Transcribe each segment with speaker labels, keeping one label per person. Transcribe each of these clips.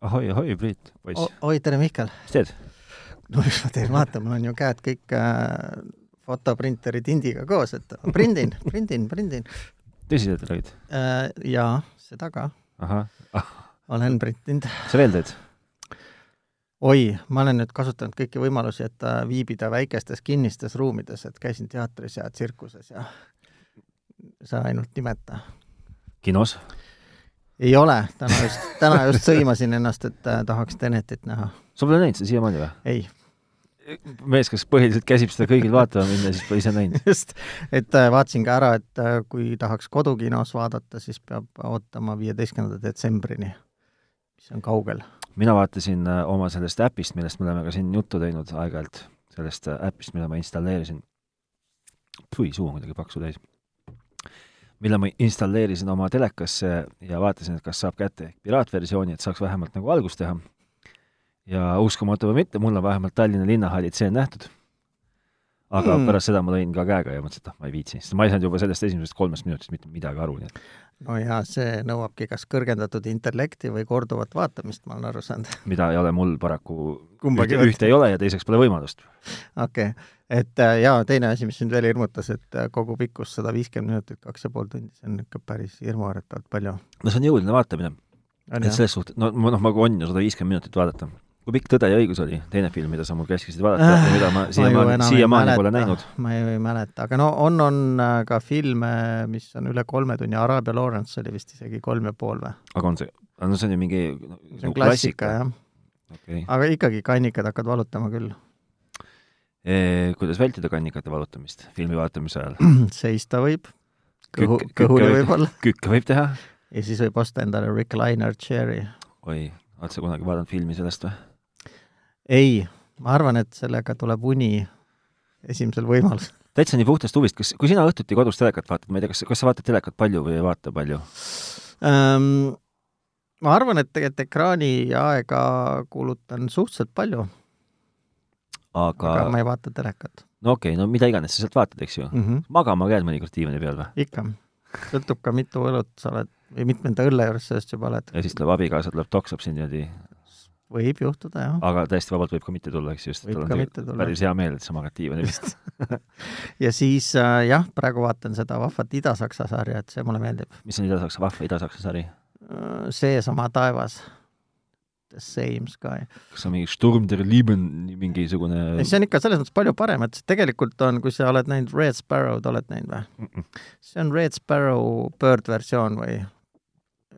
Speaker 1: ahoi, ahoi, Priit, poiss ,
Speaker 2: oi , tere , Mihkel
Speaker 1: mis teed ?
Speaker 2: no mis ma teen , vaata , mul on ju käed kõik äh, fotoprinteri tindiga koos , et prindin , prindin , prindin
Speaker 1: tõsiselt räägid ?
Speaker 2: äh, . jaa , seda ka ,
Speaker 1: ahah ah, ,
Speaker 2: olen printinud .
Speaker 1: sa veel teed ?
Speaker 2: oi , ma olen nüüd kasutanud kõiki võimalusi , et äh, viibida väikestes kinnistes ruumides , et käisin teatris ja tsirkuses ja sa ainult nimeta .
Speaker 1: kinos ?
Speaker 2: ei ole , täna just , täna just sõimasin ennast , et äh, tahaks Tenetit näha .
Speaker 1: sa pole näinud seda siiamaani või ?
Speaker 2: ei ,
Speaker 1: mees , kes põhiliselt käsib seda kõigil vaatama minna , siis pole ise näinud .
Speaker 2: just , et äh, vaatasin ka ära , et äh, kui tahaks kodukinos vaadata , siis peab ootama viieteistkümnenda detsembrini , mis on kaugel .
Speaker 1: mina vaatasin äh, oma sellest äpist , millest me oleme ka siin juttu teinud aeg-ajalt , sellest äh, äpist , mille ma installeerisin . Pui , suu on kuidagi paksu täis . mille ma installeerisin oma telekasse ja vaatasin , et kas saab kätte ehk piraatversiooni , et saaks vähemalt nagu algust teha . ja uskumatu või mitte , mul on vähemalt Tallinna linnahallid see nähtud . aga
Speaker 2: Hmm.
Speaker 1: mm. pärast seda ma lõin ka käega ja mõtlesin , et ah , ma ei viitsi , sest ma ei saanud juba sellest esimesest kolmest minutist mitte midagi aru , nii et
Speaker 2: no ja see nõuabki kas kõrgendatud intellekti või korduvat vaatamist , ma olen aru saanud .
Speaker 1: mida ei ole mul paraku ,
Speaker 2: Kumbagi
Speaker 1: ühte,
Speaker 2: võtta.
Speaker 1: ühte ei ole ja teiseks pole võimalust .
Speaker 2: okei okay. , et äh, ja teine asi , mis mind veel hirmutas , et äh, kogu pikkus sada viiskümmend minutit , kaks ja pool tundi , see on ikka päris hirmuäratavalt palju .
Speaker 1: no see on jõuline vaatamine . et selles suhtes , no ma- noh , ma on ju sada viiskümmend minutit vaadata . kui pikk Tõde ja õigus oli , teine film , mida sa mul käskisid vaadata ja mida
Speaker 2: Ah,
Speaker 1: ma siiamaani , siiamaani pole näinud ..
Speaker 2: ma ju ei mäleta , aga no on , on äh, ka filme , mis on üle kolme tunni , Araabia Lawrence oli vist isegi kolm ja pool või ?
Speaker 1: aga on see , no see on ju mingi no,
Speaker 2: see on klassika , jah .
Speaker 1: okei
Speaker 2: aga ikkagi kannikad hakkavad valutama küll .
Speaker 1: okay. . Eh, kuidas vältida kannikate valutamist filmi vaatamise ajal ?
Speaker 2: seista võib , kõhu
Speaker 1: Kükk- ,
Speaker 2: kõhuli
Speaker 1: kükke-
Speaker 2: võib-olla
Speaker 1: kükke võib teha .
Speaker 2: ja siis võib osta endale recliner chair'i .
Speaker 1: oi , oled sa kunagi vaadanud filmi sellest või ?
Speaker 2: ei , ma arvan , et sellega tuleb uni esimesel võimalusel .
Speaker 1: täitsa nii puhtast huvist , kas , kui sina õhtuti kodus telekat vaatad , ma ei tea , kas , kas sa vaatad telekat palju või ei vaata palju ? Ähm,
Speaker 2: ma arvan , et tegelikult ekraaniaega kulutan suhteliselt palju ,
Speaker 1: aga,
Speaker 2: aga
Speaker 1: aga
Speaker 2: ma ei vaata telekat
Speaker 1: no okei okay, , no mida iganes sa sealt vaatad , eks ju .
Speaker 2: mm . -hmm.
Speaker 1: magama käid mõnikord diivani peal või ?
Speaker 2: ikka , sõltub ka mitu õlut sa oled või mitmenda õlle juures sellest juba oled .
Speaker 1: ja siis tuleb abikaasa , tuleb toksab sind niimoodi
Speaker 2: võib juhtuda jah ,
Speaker 1: aga täiesti vabalt võib ka mitte tulla , eks ju , sest
Speaker 2: võib
Speaker 1: tal on
Speaker 2: ka
Speaker 1: tegelikult
Speaker 2: mitte tulla .
Speaker 1: päris hea meel , et sa magad diivani peal .
Speaker 2: ja siis äh, jah , praegu vaatan seda vahvat Ida-Saksa sarja , et see mulle meeldib .
Speaker 1: mis on Ida-Saksa , vahva Ida-Saksa sari ?
Speaker 2: seesama taevas , The Same Sky .
Speaker 1: kas see on mingi Sturm der Lieben mingisugune
Speaker 2: see on ikka selles mõttes palju parem , et see tegelikult on , kui sa oled näinud Red Sparrow'd , oled näinud või ?
Speaker 1: Mm -mm.
Speaker 2: see on Red Sparrow pöördversioon või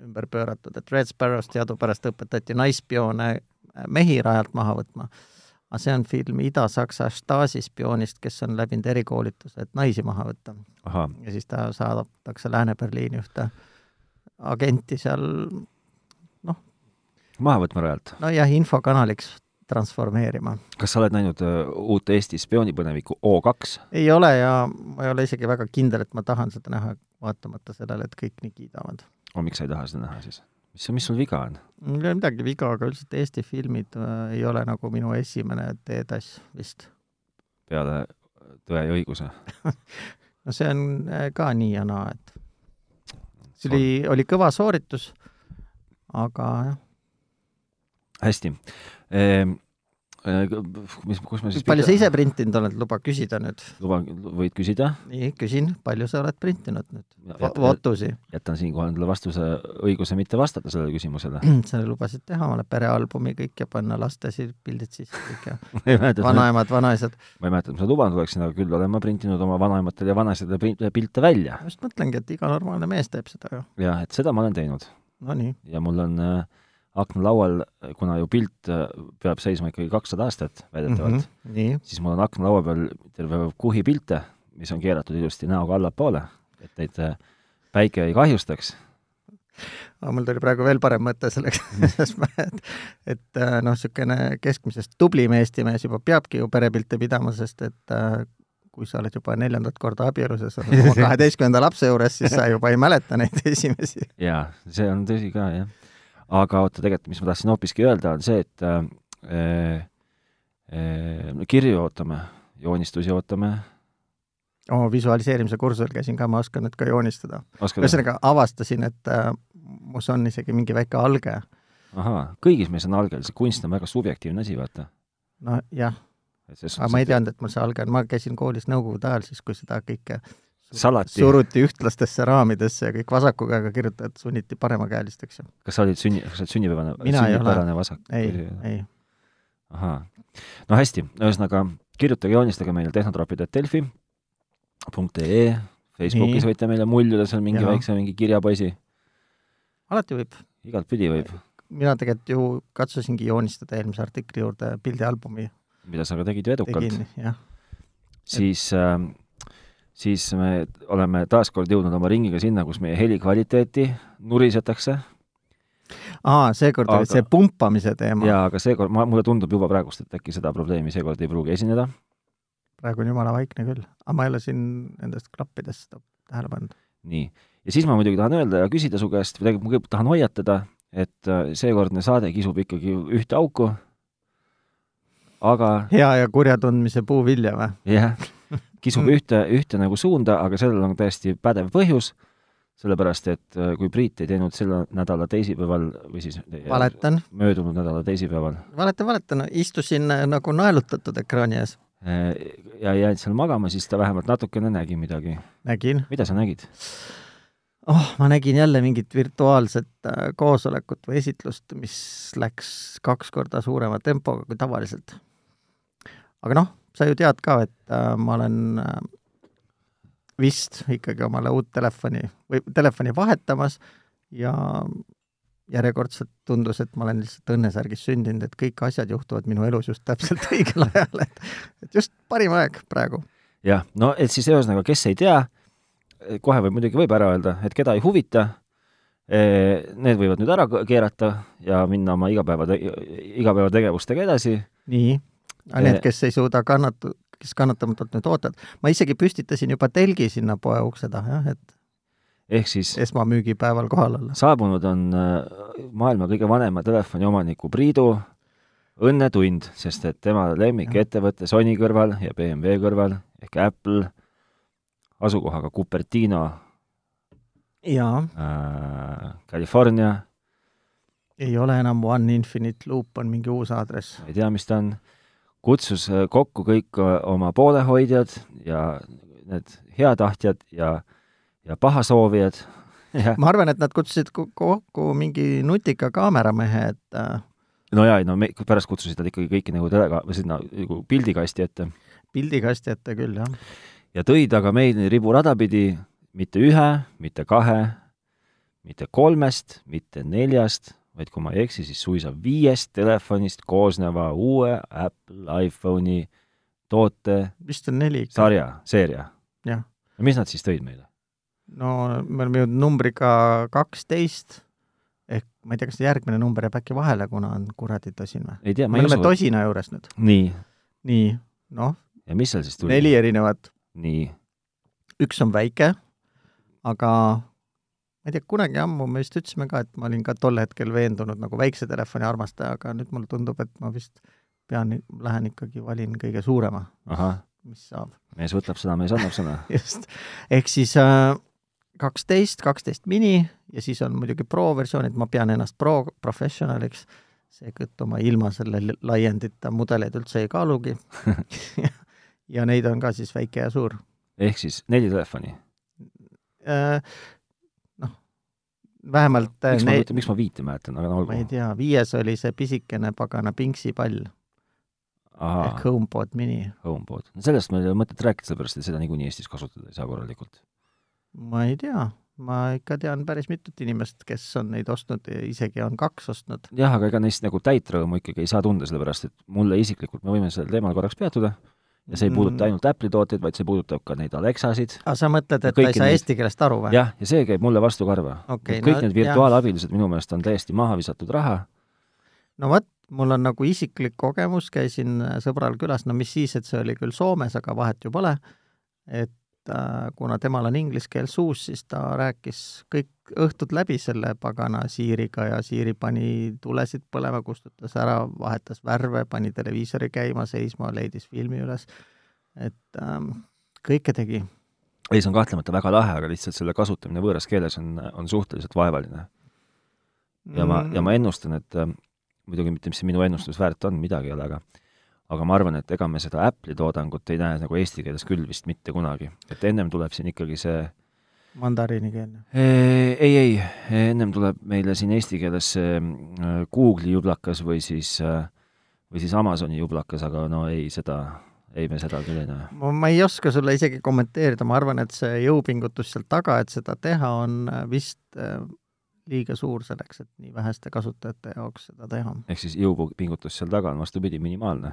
Speaker 2: ümber pööratud , et Red Sparrows teadupärast õpetati naispioone mehi rajalt maha võtma . aga see on film Ida-Saksa Stasi spioonist , kes on läbinud erikoolituse , et naisi maha võtta
Speaker 1: ahah ,
Speaker 2: ja siis ta saadetakse Lääne-Berliini ühte agenti seal
Speaker 1: maha võtma rajalt .
Speaker 2: nojah , infokanaliks transformeerima .
Speaker 1: kas sa oled näinud uh, uut Eesti spioonipõnevikku O2 ?
Speaker 2: ei ole ja ma ei ole isegi väga kindel , et ma tahan seda näha , vaatamata sellele , et kõik nii kiidavad .
Speaker 1: no Oh, miks sa ei taha seda näha siis ? mis , mis sul viga on ?
Speaker 2: mul ei ole midagi viga , aga üldiselt Eesti filmid äh, ei ole nagu minu esimene teetass vist .
Speaker 1: peale äh, Tõe ja õiguse ?
Speaker 2: no see on äh, ka nii ja naa , et see oli , oli kõva sooritus , aga jah ,
Speaker 1: hästi . mis , kus me siis
Speaker 2: palju sa ise printinud oled , luba küsida nüüd .
Speaker 1: luba , võid küsida ,
Speaker 2: nii , küsin , palju sa oled printinud nüüd ?
Speaker 1: Jätta-
Speaker 2: Votusi ,
Speaker 1: jätan siinkohal endale vastuse õiguse mitte vastata sellele küsimusele .
Speaker 2: sa lubasid teha omale perealbumi kõik ja panna laste si- pildid sisse kõik ja
Speaker 1: ma ei mäleta, et
Speaker 2: vanaemad , vanaisad .
Speaker 1: ma ei mäleta , et ma seda lubanud oleksin , aga küll olen ma printinud oma vanaematele ja vanaisadele print- , pilte välja
Speaker 2: ma just mõtlengi , et iga normaalne mees teeb seda ju .
Speaker 1: ja et seda ma olen teinud
Speaker 2: Nonii ,
Speaker 1: ja mul on äh, aknalaual , kuna ju pilt äh, peab seisma ikkagi kakssada aastat väidetavalt mm , -hmm.
Speaker 2: Mhm. nii ,
Speaker 1: siis mul on aknalaua peal terve kuhi pilte , mis on keeratud ilusti näoga allapoole , et neid äh, päike ei kahjustaks .
Speaker 2: aga mul tuli praegu veel parem mõte selleks , et, et äh, noh , niisugune keskmisest tublim Eesti mees juba peabki ju perepilte pidama , sest et äh, kui sa oled juba neljandat korda abielus ja sa oled oma kaheteistkümnenda lapse juures , siis sa juba ei mäleta neid esimesi .
Speaker 1: jaa , see on tõsi ka , jah . aga oota , tegelikult , mis ma tahtsin hoopiski öelda , on see , et äh, äh, kirju ootame , joonistusi ootame .
Speaker 2: oo , visualiseerimise kursusel käisin ka , ma oskan nüüd ka joonistada . ühesõnaga avastasin , et äh, mu on isegi mingi väike alge
Speaker 1: ahaa , kõigis meis on algel , see kunst on väga subjektiivne asi , vaata .
Speaker 2: nojah , aga ma ei . teadnud , et mul see alge on , ma käisin koolis nõukogude ajal siis , kui seda kõike su-
Speaker 1: Salati.
Speaker 2: suruti ühtlastesse raamidesse ja kõik vasaku käega kirjutajad sunniti paremakäelisteks ja
Speaker 1: kas sa olid sünni , kas sa oled sünnipäevane ,
Speaker 2: Mina ei ole.
Speaker 1: sünnipärane vasak ?
Speaker 2: ei , ei ,
Speaker 1: ahaa . no hästi , ühesõnaga kirjutage , joonistage meile tehnotroopid.delfi.ee , Facebookis
Speaker 2: Nii.
Speaker 1: võite meile muljuda seal mingi
Speaker 2: Jaa.
Speaker 1: väikse mingi kirjapoisi ,
Speaker 2: alati võib
Speaker 1: igatpidi võib ,
Speaker 2: mina tegelikult ju katsusingi joonistada eelmise artikli juurde pildialbumi
Speaker 1: mida sa ka tegid ju edukalt
Speaker 2: tegin ,, jah .
Speaker 1: siis äh, , siis me oleme taaskord jõudnud oma ringiga sinna , kus meie heli kvaliteeti nurisetakse
Speaker 2: aa , seekord
Speaker 1: Aga-
Speaker 2: oli see pumpamise teema ,
Speaker 1: ja aga seekord , ma , mulle tundub juba praegust , et äkki seda probleemi seekord ei pruugi esineda .
Speaker 2: praegu on jumala vaikne küll , aga ma ei ole siin nendest klappidest seda tähele pannud .
Speaker 1: nii , ja siis ma muidugi tahan öelda ja küsida su käest , või tegelikult ma kõigepealt tahan hoiatada , et äh, seekordne saade kisub ikkagi ühte auku , aga
Speaker 2: hea ja kurja tundmise puuvilja või ?
Speaker 1: jah , kisub
Speaker 2: Mm.
Speaker 1: ühte , ühte nagu suunda , aga sellel on täiesti pädev põhjus , sellepärast et äh, kui Priit ei teinud selle nädala teisipäeval või siis äh,
Speaker 2: valetan ,
Speaker 1: möödunud nädala teisipäeval
Speaker 2: valetan , valetan , istusin äh, nagu naelutatud ekraani ees ,
Speaker 1: äh, ja jäid seal magama , siis ta vähemalt natukene nägi midagi .
Speaker 2: nägin ,
Speaker 1: mida sa nägid ?
Speaker 2: oh , ma nägin jälle mingit virtuaalset äh, koosolekut või esitlust , mis läks kaks korda suurema tempoga kui tavaliselt . aga noh , sa ju tead ka , et äh, ma olen äh, vist ikkagi omale uut telefoni või telefoni vahetamas ja järjekordselt tundus , et ma olen lihtsalt õnnesärgis sündinud , et kõik asjad juhtuvad minu elus just täpselt õigel ajal , et et just parim aeg praegu .
Speaker 1: jah , no et siis ühesõnaga , kes ei tea , kohe võib muidugi võib ära öelda , et keda ei huvita , need võivad nüüd ära k- keerata ja minna oma igapäeva , igapäevategevustega edasi .
Speaker 2: nii , aga need
Speaker 1: Eh. ,
Speaker 2: kes ei suuda kannatu- , kes kannatamatult nüüd ootavad , ma isegi püstitasin juba telgi sinna poe ukse taha , jah , et
Speaker 1: ehk siis
Speaker 2: esmamüügipäeval kohal olla .
Speaker 1: saabunud on äh, maailma kõige vanema telefoniomaniku Priidu õnnetund , sest et tema lemmikettevõte Sony kõrval ja BMW kõrval ehk Apple asukohaga Cupertino
Speaker 2: jaa ,
Speaker 1: äh, , California ,
Speaker 2: ei ole enam One Infinite Loop , on mingi uus aadress .
Speaker 1: ma ei tea , mis ta on , kutsus äh, kokku kõik äh, oma poolehoidjad ja need heatahtjad ja , ja pahasoovijad ja
Speaker 2: ma arvan , et nad kutsusid ko- kokku mingi nutika kaameramehe , et äh,
Speaker 1: no jaa , ei no me pärast kutsusid nad ikkagi kõiki nagu telega või sinna nagu pildikasti ette
Speaker 2: pildikasti ette küll , jah .
Speaker 1: ja tõid aga meid riburada pidi mitte ühe , mitte kahe , mitte kolmest , mitte neljast , vaid kui ma ei eksi , siis suisa viiest telefonist koosneva uue Apple iPhone'i toote
Speaker 2: vist on neli .
Speaker 1: sarja , seeria .
Speaker 2: Jah.
Speaker 1: mis nad siis tõid meile ?
Speaker 2: no me oleme jõudnud numbriga kaksteist , ehk ma ei tea , kas see järgmine number jääb äkki vahele , kuna on kuradi tosin või ?
Speaker 1: ei tea ,
Speaker 2: me
Speaker 1: ma ei
Speaker 2: oleme
Speaker 1: usu .
Speaker 2: tosina juures nüüd .
Speaker 1: nii ,
Speaker 2: nii , noh ,
Speaker 1: ja mis seal siis tuli ?
Speaker 2: neli erinevat
Speaker 1: nii ,
Speaker 2: üks on väike , aga ma ei tea , kunagi ammu me vist ütlesime ka , et ma olin ka tol hetkel veendunud nagu väikse telefoni armastaja , aga nüüd mulle tundub , et ma vist pean , lähen ikkagi valin kõige suurema ,
Speaker 1: ahah ,
Speaker 2: mis saab
Speaker 1: mees võtab sõna , mees annab sõna .
Speaker 2: just . ehk siis äh, kaksteist , kaksteist mini ja siis on muidugi pro versioon , et ma pean ennast pro professionaliks , seetõttu ma ilma selle l- laiendita mudeleid üldse ei kaalugi . ja neid on ka siis väike ja suur .
Speaker 1: ehk siis neli telefoni .
Speaker 2: Äh, noh , vähemalt äh,
Speaker 1: miks ma
Speaker 2: ne- ,
Speaker 1: viite , miks ma viite mäletan , aga no
Speaker 2: ma ei
Speaker 1: olgu .
Speaker 2: tea , viies oli see pisikene pagana pingsipall ehk
Speaker 1: ahah ,
Speaker 2: HomePod mini .
Speaker 1: HomePod . sellest meil ei ole mõtet rääkida , sellepärast et seda niikuinii Eestis kasutada ei saa korralikult .
Speaker 2: ma ei tea , ma ikka tean päris mitut inimest , kes on neid ostnud , isegi on kaks ostnud .
Speaker 1: jah , aga ega neist nagu täit rõõmu ikkagi ei saa tunda , sellepärast et mulle isiklikult , me võime sellel teemal korraks peatuda , ja see ei
Speaker 2: Mm.
Speaker 1: puuduta ainult Apple'i tooteid , vaid see puudutab ka neid Alexasid .
Speaker 2: aga sa mõtled , et ta
Speaker 1: kõiki
Speaker 2: ei saa
Speaker 1: neid-
Speaker 2: eesti keelest aru või ?
Speaker 1: jah , ja see käib mulle vastu karva
Speaker 2: Okei,
Speaker 1: et kõik
Speaker 2: no
Speaker 1: need virtuaalabilised minu meelest on täiesti maha visatud raha ,
Speaker 2: no vot , mul on nagu isiklik kogemus , käisin äh, sõbral külas , no mis siis , et see oli küll Soomes , aga vahet ju pole , et äh, kuna temal on inglise keel suus , siis ta rääkis kõik õhtud läbi selle pagana siiriga ja siiri pani tulesid põlema , kustutas ära , vahetas värve , pani televiisori käima , seisma , leidis filmi üles , et ähm, kõike tegi .
Speaker 1: ei , see on kahtlemata väga lahe , aga lihtsalt selle kasutamine võõras keeles on , on suhteliselt vaevaline . ja ma, ja ma ennustan, et äh, muidugi mitte, mis see minu ennustus väärt on, midagi ei ole, aga aga ma arvan, et ega me seda Apple'i toodangut ei näe nagu eesti keeles küll vist mitte kunagi. et ennem tuleb siin ikkagi see
Speaker 2: Mm, mandariinikeelne .
Speaker 1: ei, ei, ennem tuleb meile siin eesti keeles see äh, Google'i jublakas või siis äh, või siis Amazoni jublakas, aga no ei, seda, ei me seda küll ei näe.
Speaker 2: ma, ma ei oska sulle isegi kommenteerida , ma arvan , et see jõupingutus seal taga , et seda teha , on vist äh, liiga suur selleks , et nii väheste kasutajate jaoks seda teha .
Speaker 1: ehk siis jõupingutus seal taga on vastupidi minimaalne.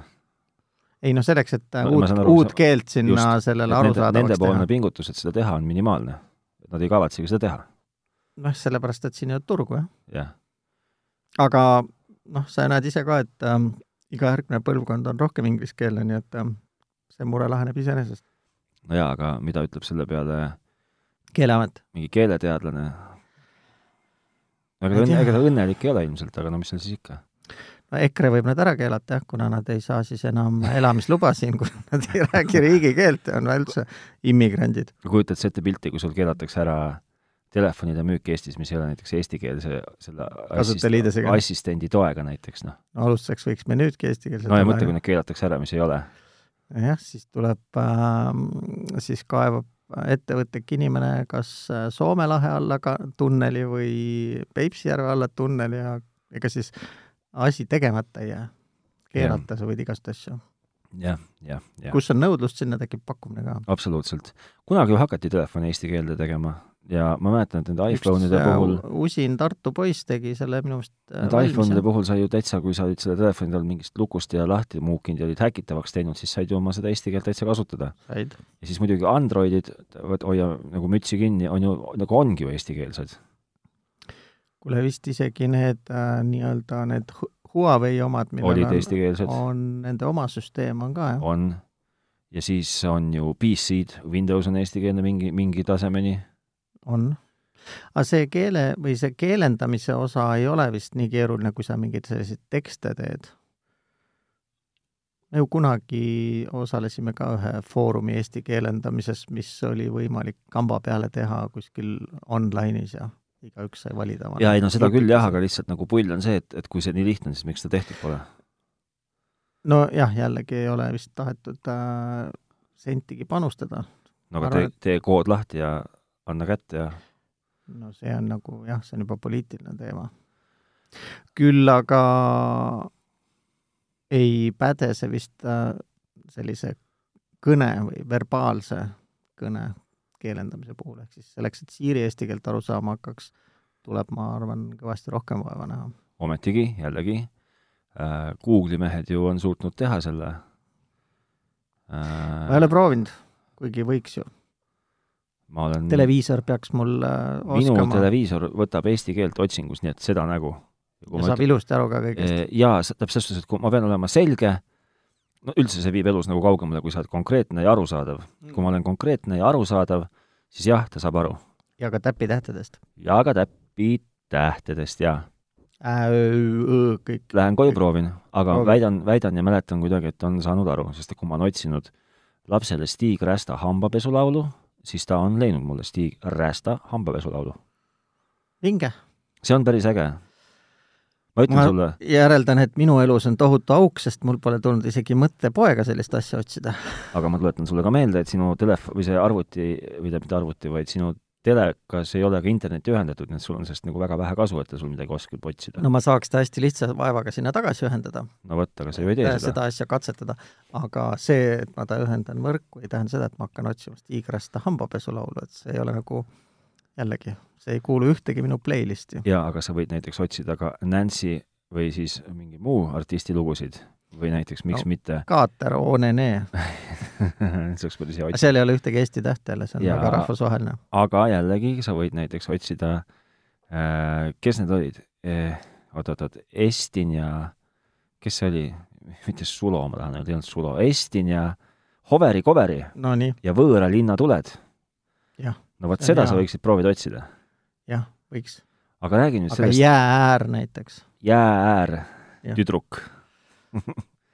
Speaker 2: ei noh , selleks , et äh,
Speaker 1: Ma- ma
Speaker 2: uut
Speaker 1: saan , aru,
Speaker 2: uut
Speaker 1: sa-
Speaker 2: keelt sinna
Speaker 1: just.
Speaker 2: sellele
Speaker 1: Nende,
Speaker 2: arusaadavaks
Speaker 1: nendepoolne
Speaker 2: teha .
Speaker 1: pingutus , et seda teha , on minimaalne . et nad ei kavatsegi seda teha,
Speaker 2: noh , sellepärast , et siin ei ole turgu , jah .
Speaker 1: jah .
Speaker 2: aga noh , sa näed ise ka , et ähm, iga järgmine põlvkond on rohkem ingliskeelne , nii et ähm, see mure laheneb iseenesest .
Speaker 1: no jaa , aga mida ütleb selle peale
Speaker 2: keeleamet .
Speaker 1: mingi keeleteadlane ?
Speaker 2: Ma
Speaker 1: aga
Speaker 2: ei
Speaker 1: ta õnne ,
Speaker 2: tea.
Speaker 1: ega ta õnnelik ei ole ilmselt , aga no mis seal siis ikka .
Speaker 2: no EKRE võib nad ära keelata jah , kuna nad ei saa siis enam elamisluba siin , kui nad ei räägi riigikeelt ja on üldse immigrandid .
Speaker 1: kujutad sa ette pilti , kui sul keelatakse ära telefonide müük Eestis , mis ei ole näiteks eestikeelse selle
Speaker 2: Kasutajaliidesega.
Speaker 1: assistendi toega näiteks , noh .
Speaker 2: no alustuseks võiks me nüüdki eestikeelset
Speaker 1: no ja mõtle , kui need keelatakse ära , mis ei ole .
Speaker 2: jah , siis tuleb äh, , siis kaevab äh, ettevõtlik inimene kas äh, Soome lahe alla ka tunneli või Peipsi järve alla tunneli ja ega siis asi tegemata ei jää . keelata sa võid igast asju .
Speaker 1: jah , jah , jah ,
Speaker 2: kus on nõudlust , sinna tekib pakkumine ka .
Speaker 1: absoluutselt . kunagi ju hakati telefoni eesti keelde tegema ja ma mäletan , et nende iPhone'ide puhul ,
Speaker 2: äh, usin Tartu poiss tegi selle minu meelest äh,
Speaker 1: nende iPhone'ide
Speaker 2: valmis .
Speaker 1: puhul sai ju täitsa , kui sa olid selle telefoni tal mingist lukust ja lahti muukinud ja olid häkitavaks teinud , siis said ju oma seda eesti keelt täitsa kasutada .
Speaker 2: said .
Speaker 1: ja siis muidugi Androidid , vot hoia nagu mütsi kinni , on ju , nagu ongi ju eestikeelsed .
Speaker 2: kuule vist isegi need äh, nii-öelda need Hu- Huawei omad , millel
Speaker 1: olid
Speaker 2: on ,
Speaker 1: eestikeelsed .
Speaker 2: on nende oma süsteem on ka jah .
Speaker 1: on , ja siis on ju PC-d , Windows on eestikeelne mingi , mingi tasemeni ,
Speaker 2: on . aga see keele või see keelendamise osa ei ole vist nii keeruline , kui sa mingeid selliseid tekste teed . me ju kunagi osalesime ka ühe foorumi eesti keelendamises , mis oli võimalik kamba peale teha kuskil online'is ja igaüks sai valida .
Speaker 1: ja ei no seda küll jah , aga lihtsalt nagu pull on see , et , et kui see nii lihtne on , siis miks seda tehtud pole ?
Speaker 2: nojah , jällegi ei ole vist tahetud äh, sentigi panustada
Speaker 1: no aga
Speaker 2: Ma
Speaker 1: tee
Speaker 2: arvan, ,
Speaker 1: tee kood lahti ja anna kätte ja
Speaker 2: no see on nagu jah , see on juba poliitiline teema . küll aga ei päde see vist äh, sellise kõne või verbaalse kõne keelendamise puhul , ehk siis selleks , et Siiri eesti keelt aru saama hakkaks , tuleb , ma arvan , kõvasti rohkem vaeva näha .
Speaker 1: ometigi jällegi äh, Google'i mehed ju on suutnud teha selle
Speaker 2: ma ei
Speaker 1: äh, .
Speaker 2: ole
Speaker 1: Mm.
Speaker 2: proovinud , kuigi võiks ju .
Speaker 1: ma olen ,
Speaker 2: televiisor peaks mul äh,
Speaker 1: minu
Speaker 2: oskama
Speaker 1: televiisor võtab eesti keelt otsingus , nii et seda nägu .
Speaker 2: ja saab ilusti aru ka kõigest .
Speaker 1: Eh, jaa , täpselt selles suhtes , et kui ma pean olema selge , no üldse see viib elus nagu kaugemale , kui sa oled konkreetne ja arusaadav . Eh, kui ma olen konkreetne ja arusaadav , siis jah , ta saab aru .
Speaker 2: ja ka täpitähtedest .
Speaker 1: ja ka täppi tähtedest ja
Speaker 2: Ä , Ö , Ö , kõik .
Speaker 1: lähen koju , proovin , aga
Speaker 2: Proovi.
Speaker 1: Proovi. väidan , väidan ja mäletan kuidagi , et on saanud aru , sest et kui ma olen otsinud lapsele Stig Rästa hambapesulaulu , siis ta on leidnud mulle Stig Rästa hambapesulaulu .
Speaker 2: vinge .
Speaker 1: see on päris äge . ma ütlen
Speaker 2: Ma-
Speaker 1: ma... sulle ,
Speaker 2: järeldan , et minu elus on tohutu auk , sest mul pole tulnud isegi mõttepoega sellist asja otsida .
Speaker 1: aga ma tuletan sulle ka meelde , et sinu telefon või see arvuti või tähendab , mitte arvuti , vaid sinu telekas ei ole ka internetti ühendatud , nii et sul on sellest nagu väga vähe kasu , et ta sul midagi oskab otsida no, .
Speaker 2: no ma saaks ta hästi lihtsa vaevaga sinna tagasi ühendada ,
Speaker 1: no vot , aga sa ju ei tee seda, seda. .
Speaker 2: seda asja katsetada , aga see , et ma ta ühendan võrku , ei tähenda seda , et ma hakkan otsima tiigrasta hambapesulaulu , et see ei ole nagu jällegi , see ei kuulu ühtegi minu playlisti .
Speaker 1: jaa , aga sa võid näiteks otsida ka Nancy või siis mingi muu artisti lugusid või näiteks miks no. mitte
Speaker 2: Kaater Onene ,
Speaker 1: see oleks päris hea ots- .
Speaker 2: seal ei ole ühtegi Eesti tähte jälle , see on
Speaker 1: Jaa.
Speaker 2: väga rahvusvaheline .
Speaker 1: aga jällegi , sa võid näiteks otsida äh, , kes need olid eh, , oot-oot-oot , Estin ja kes see oli , mitte Sulo , ma tahan öelda , ei olnud Sulo , Estin ja Hoveri Koveri
Speaker 2: Nonii ,
Speaker 1: ja Võõra linna tuled .
Speaker 2: Jah,
Speaker 1: no vot
Speaker 2: see on
Speaker 1: seda
Speaker 2: hea.
Speaker 1: sa võiksid proovida otsida .
Speaker 2: jah , võiks .
Speaker 1: aga räägi nüüd
Speaker 2: aga
Speaker 1: sellest jää...
Speaker 2: Jää äär näiteks ,
Speaker 1: jäääär
Speaker 2: Jah.
Speaker 1: tüdruk .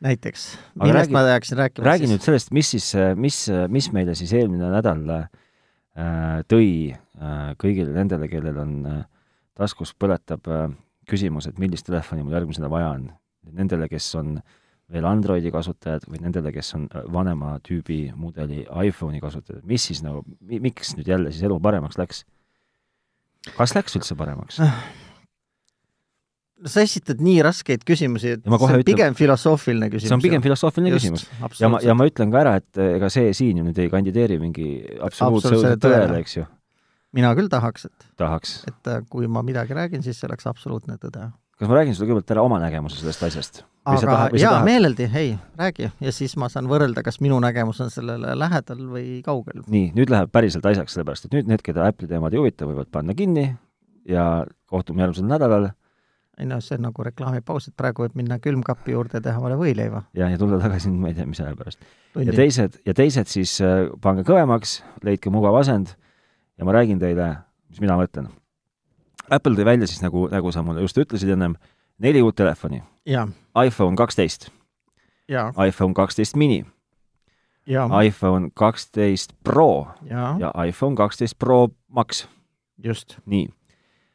Speaker 2: näiteks ,
Speaker 1: Aga
Speaker 2: millest
Speaker 1: räägi-
Speaker 2: ma peaksin rääkima
Speaker 1: räägi
Speaker 2: siis ?
Speaker 1: nüüd sellest , mis siis , mis , mis meile siis eelmine nädal äh, tõi äh, kõigile nendele , kellel on äh, taskus põletab äh, küsimus, et millist telefoni mul järgmisena vaja on. Nendele, kes on veel Androidi kasutajad või nendele, kes on äh, vanema tüübi mudeli iPhone'i kasutajad, mis siis nagu, miks nüüd jälle siis elu paremaks läks? kas läks üldse paremaks?
Speaker 2: no sa esitad nii raskeid küsimusi, et
Speaker 1: Ja ma
Speaker 2: see on
Speaker 1: kohe ütlen-
Speaker 2: pigem filosoofiline küsimus.
Speaker 1: see on pigem filosoofiline küsimus . ja ma , ja ma ütlen ka ära, et äh, ega see siin ju nüüd ei kandideeri mingi absoluutse
Speaker 2: Absoluutsele
Speaker 1: õudse
Speaker 2: tõele.
Speaker 1: tõele , eks ju ,
Speaker 2: mina küll tahaks , et ,
Speaker 1: tahaks .
Speaker 2: et äh, kui ma midagi räägin , siis see oleks absoluutne tõde .
Speaker 1: kas ma räägin sulle kõigepealt ära oma nägemuse sellest asjast ?
Speaker 2: aga jaa ,? meeleldi , ei , räägi ja siis ma saan võrrelda , kas minu nägemus on sellele lähedal või kaugel .
Speaker 1: nii , nüüd läheb päriselt asjaks , sellepärast et nüüd need , keda Apple'i teemad ei huvita , võivad panna kinni ja kohtume järgmisel nädalal
Speaker 2: ei noh , see on nagu reklaamipaus , et praegu võib minna külmkapi juurde ja teha omale võileiva .
Speaker 1: ja , ja tulla tagasi , ma ei tea , mis aja pärast . ja teised , ja teised siis äh, pange kõvemaks , leidke mugav asend ja ma räägin teile , mis mina mõtlen . Apple tõi välja siis nagu , nagu sa mulle just ütlesid ennem , neli uut telefoni .
Speaker 2: jaa ,
Speaker 1: iPhone kaksteist ,
Speaker 2: jaa ,
Speaker 1: iPhone kaksteist mini ,
Speaker 2: jaa ,
Speaker 1: iPhone kaksteist Pro
Speaker 2: jaa ,
Speaker 1: ja iPhone kaksteist Pro Max ,
Speaker 2: just .
Speaker 1: nii .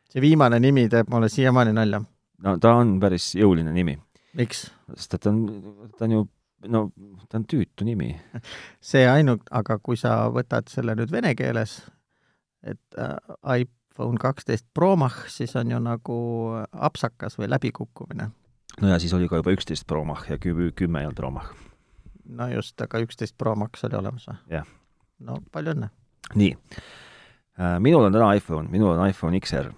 Speaker 2: see viimane nimi teeb mulle siiamaani nalja .
Speaker 1: no ta on päris jõuline nimi ,
Speaker 2: miks ?
Speaker 1: sest et ta on , ta on ju , no ta on tüütu nimi .
Speaker 2: see ainult , aga kui sa võtad selle nüüd vene keeles , et äh, iPhone kaksteist Pro Max , siis on ju nagu apsakas või läbikukkumine .
Speaker 1: no ja siis oli ka juba üksteist Pro Mach ja kü- kümme ei olnud Pro Mach .
Speaker 2: no just , aga üksteist Pro Max oli olemas või ?
Speaker 1: Jah.
Speaker 2: no palju õnne .
Speaker 1: nii , Äh, minul on täna iPhone , minul on iPhone XR .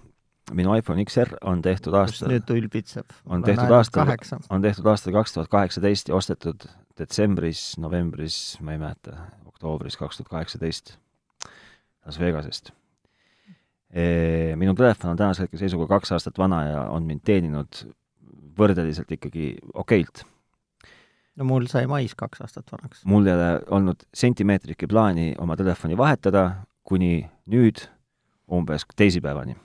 Speaker 1: minu iPhone XR on tehtud
Speaker 2: just
Speaker 1: aastal ,
Speaker 2: nüüd ülbitseb .
Speaker 1: On tehtud aastal-
Speaker 2: kaheksa .
Speaker 1: on tehtud aastal kaks tuhat kaheksateist ja ostetud detsembris , novembris , ma ei mäleta , oktoobris kaks tuhat kaheksateist Las Vegasest . minu telefon on tänase hetke seisuga kaks aastat vana ja on mind teeninud võrdeliselt ikkagi okeilt .
Speaker 2: no mul sai mais kaks aastat vanaks .
Speaker 1: mul ei ole olnud sentimeetritki plaani oma telefoni vahetada kuni nüüd umbes teisipäevani .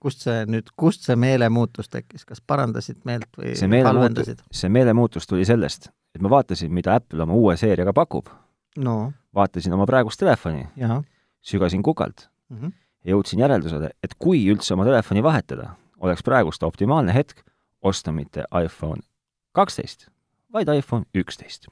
Speaker 2: kust see nüüd , kust see meelemuutus tekkis , kas parandasid meelt või
Speaker 1: see meelemuutus
Speaker 2: halvendasid ?,
Speaker 1: see meelemuutus tuli sellest , et ma vaatasin , mida Apple oma uue seeriaga pakub ,
Speaker 2: no
Speaker 1: vaatasin oma praegust telefoni ,
Speaker 2: jaa
Speaker 1: sügasin kukalt
Speaker 2: mm . -hmm.
Speaker 1: ja jõudsin järeldusele , et kui üldse oma telefoni vahetada , oleks praegust optimaalne hetk osta mitte iPhone kaksteist , vaid iPhone üksteist ,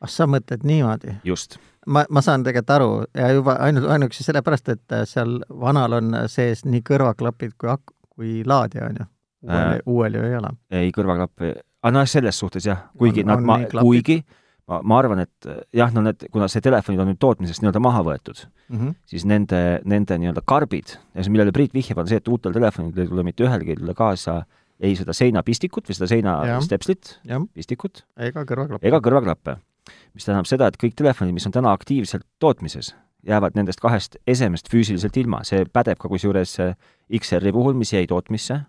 Speaker 2: ah , sa mõtled niimoodi ?
Speaker 1: just .
Speaker 2: ma , ma saan tegelikult aru ja juba ainult , ainuüksi sellepärast , et äh, seal vanal on sees nii kõrvaklapid kui ak- , kui laadija , on ju . uuel
Speaker 1: Äh. ,
Speaker 2: uuel ju ei ole .
Speaker 1: ei , kõrvaklappe , aga noh , selles suhtes jah , kuigi
Speaker 2: On-
Speaker 1: on, nad
Speaker 2: on ,
Speaker 1: ma
Speaker 2: nii , klapid.
Speaker 1: kuigi ma , ma arvan , et äh, jah , no need , kuna see telefonid on nüüd tootmisest nii-öelda maha võetud , siis nende , nende nii-öelda karbid , millele Priit vihjab , on see , et uutel telefonidel ei tule mitte ühelgi ei tule kaasa ei seda seinapistikut või seda
Speaker 2: Jah.
Speaker 1: seinastepslit ,
Speaker 2: jah ,
Speaker 1: pistikut ,
Speaker 2: ega kõrvaklapp .
Speaker 1: ega kõrvaklappe . mis tähendab seda , et kõik telefonid , mis on täna aktiivselt tootmises , jäävad nendest kahest esemest füüsiliselt ilma , see pädeb ka kusjuures äh, XR-i puhul , mis jäi tootmisse ,
Speaker 2: aa ,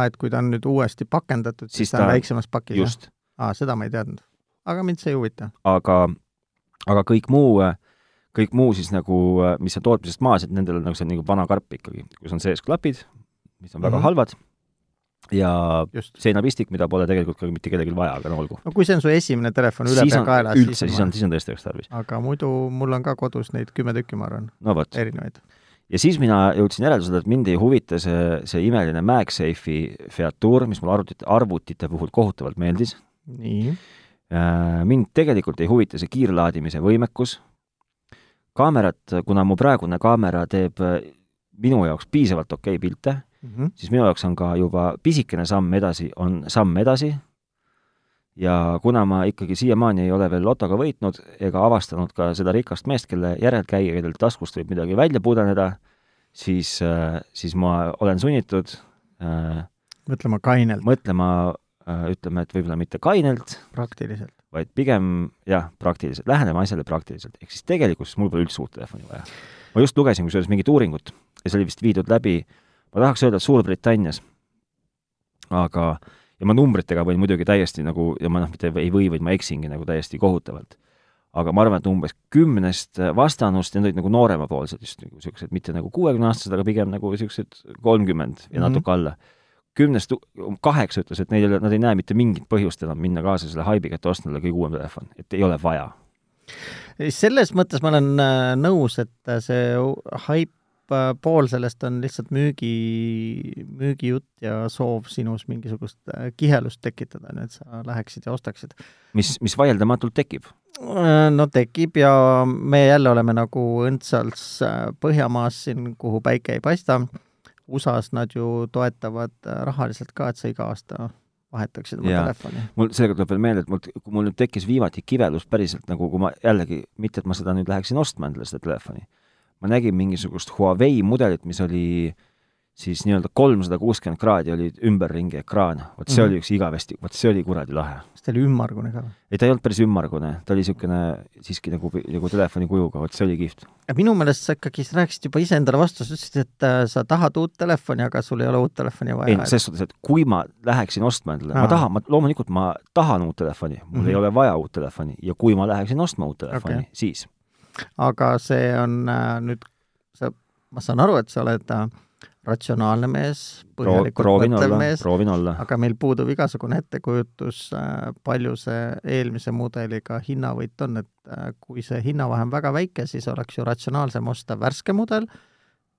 Speaker 2: Ah, et kui ta on nüüd uuesti pakendatud , siis
Speaker 1: Siis
Speaker 2: ta on
Speaker 1: ta-
Speaker 2: väiksemas pakis , jah ?
Speaker 1: just ,
Speaker 2: aa , seda ma ei teadnud . aga mind see ei huvita .
Speaker 1: aga , aga kõik muu , kõik muu siis nagu , mis on tootmisest maas , et nendel on nagu see on nagu vana karp ikkagi , kus on sees klapid , mis on väga mm
Speaker 2: Mhm.
Speaker 1: -hmm. halvad ja
Speaker 2: just .
Speaker 1: seinapistik , mida pole tegelikult ka mitte kellelgi vaja , aga no olgu .
Speaker 2: no kui see on su esimene telefon üle
Speaker 1: siis
Speaker 2: pea
Speaker 1: on
Speaker 2: kaela ,
Speaker 1: üldse , siis on , siis on tõesti oleks tarvis .
Speaker 2: aga muidu mul on ka kodus neid kümme tükki , ma arvan ,
Speaker 1: no vot .
Speaker 2: erinevaid .
Speaker 1: ja siis mina jõudsin järeldusele , et mind ei huvita see , see imeline MagSafe'i featuur , mis mulle arvutite , arvutite puhul kohutavalt meeldis .
Speaker 2: nii .
Speaker 1: Äh, mind tegelikult ei huvita see kiirlaadimise võimekus . kaamerat , kuna mu praegune kaamera teeb äh, minu jaoks piisavalt okei okay pilte ,
Speaker 2: Mhm.
Speaker 1: siis minu jaoks on ka juba pisikene samm edasi , on samm edasi . ja kuna ma ikkagi siiamaani ei ole veel lotoga võitnud ega avastanud ka seda rikast meest , kelle järelkäija , kellel taskust võib midagi välja pudeneda , siis , siis ma olen sunnitud äh,
Speaker 2: mõtlema kainelt ,
Speaker 1: mõtlema , ütleme , et võib-olla mitte kainelt ,
Speaker 2: praktiliselt .
Speaker 1: vaid pigem jah , praktiliselt , läheneme asjale praktiliselt , ehk siis tegelikkuses mul pole üldse uut telefoni vaja . ma just lugesin kusjuures mingit uuringut ja see oli vist viidud läbi , ma tahaks öelda , et Suurbritannias . aga , ja ma numbritega võin muidugi täiesti nagu ja ma noh , mitte ei või , vaid ma eksingi nagu täiesti kohutavalt . aga ma arvan , et umbes kümnest vastanust , need olid nagu nooremapoolsed just nagu siuksed , mitte nagu kuuekümneaastased , aga pigem nagu siuksed kolmkümmend ja
Speaker 2: Mhm.
Speaker 1: natuke alla . kümnest u- kaheksa ütles , et neil ei ole , nad ei näe mitte mingit põhjust enam minna kaasa selle haibiga , et osta endale kõige uuem telefon , et ei ole vaja .
Speaker 2: selles mõttes ma olen äh, nõus , et äh, see u- haip äh, pool sellest on lihtsalt müügi, müügijutt ja soov sinus mingisugust äh, kihelust tekitada, nii et sa läheksid ja ostaksid. Äh,
Speaker 1: mis , mis vaieldamatult tekib .
Speaker 2: no tekib ja me jälle oleme nagu õndsals äh, Põhjamaas siin , kuhu päike ei paista. USA-s nad ju toetavad äh, rahaliselt ka , et sa iga aasta vahetaksid oma
Speaker 1: Jaa.
Speaker 2: telefoni .
Speaker 1: mul sellega tuleb veel meelde , et mul , kui mul nüüd tekkis viimati kivelus päriselt nagu , kui ma jällegi , mitte et ma seda nüüd läheksin ostma endale seda telefoni , ma nägin mingisugust Huawei mudelit , mis oli siis nii-öelda kolmsada kuuskümmend kraadi oli ümberringi ekraan , vot see mm -hmm.
Speaker 2: Mhm.
Speaker 1: oli üks igavesti , vot see oli kuradi lahe .
Speaker 2: kas teil ümmargune ka või ?
Speaker 1: ei , ta ei olnud päris ümmargune , ta oli niisugune siiski nagu , nagu telefoni kujuga , vot see oli kihvt .
Speaker 2: Ja minu meelest sa ikkagi sa rääkisid juba iseendale vastu , sa ütlesid , et äh, sa tahad uut telefoni , aga sul ei ole uut telefoni
Speaker 1: ei
Speaker 2: vaja
Speaker 1: noh ,. selles suhtes , et kui ma läheksin ostma endale , ma
Speaker 2: Aa.
Speaker 1: tahan , ma loomulikult ma tahan uut telefoni , mul mm
Speaker 2: Mhm.
Speaker 1: -hmm. ei ole vaja uut telefoni ja kui ma läheksin ostma uut telefoni
Speaker 2: Okei.
Speaker 1: okay. , siis
Speaker 2: aga see on äh, nüüd , sa , ma saan aru , et sa oled äh, ratsionaalne mees ,
Speaker 1: proo-
Speaker 2: põhjalikult
Speaker 1: proovin
Speaker 2: mõtlev
Speaker 1: olla ,
Speaker 2: mees ,
Speaker 1: proovin olla .
Speaker 2: aga meil puudub igasugune ettekujutus , palju see eelmise mudeliga hinnavõit on , et äh, kui see hinnavahe on väga väike , siis oleks ju ratsionaalsem osta värske mudel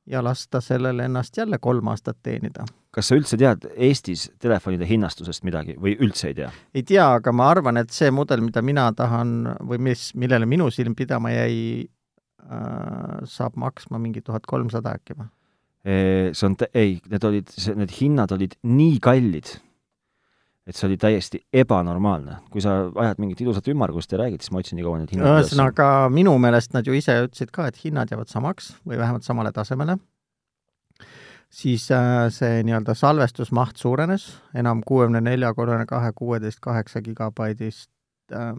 Speaker 2: ja lasta sellele ennast jälle kolm aastat teenida .
Speaker 1: kas sa üldse tead Eestis telefonide hinnastusest midagi või üldse ei tea ?
Speaker 2: ei tea , aga ma arvan , et see mudel , mida mina tahan või mis , millele minu silm pidama jäi , saab maksma mingi tuhat kolmsada äkki või ?
Speaker 1: see on , ei , need olid , need hinnad olid nii kallid , et see oli täiesti ebanormaalne . kui sa ajad mingit ilusat ümmargust ja räägid , siis ma otsin nii kaua need hinnad üles .
Speaker 2: ühesõnaga , minu meelest nad ju ise ütlesid ka , et hinnad jäävad samaks või vähemalt samale tasemele , siis äh, see nii-öelda salvestusmaht suurenes enam kuuekümne nelja , kolmekümne kahe , kuueteist , kaheksa gigabaidist äh,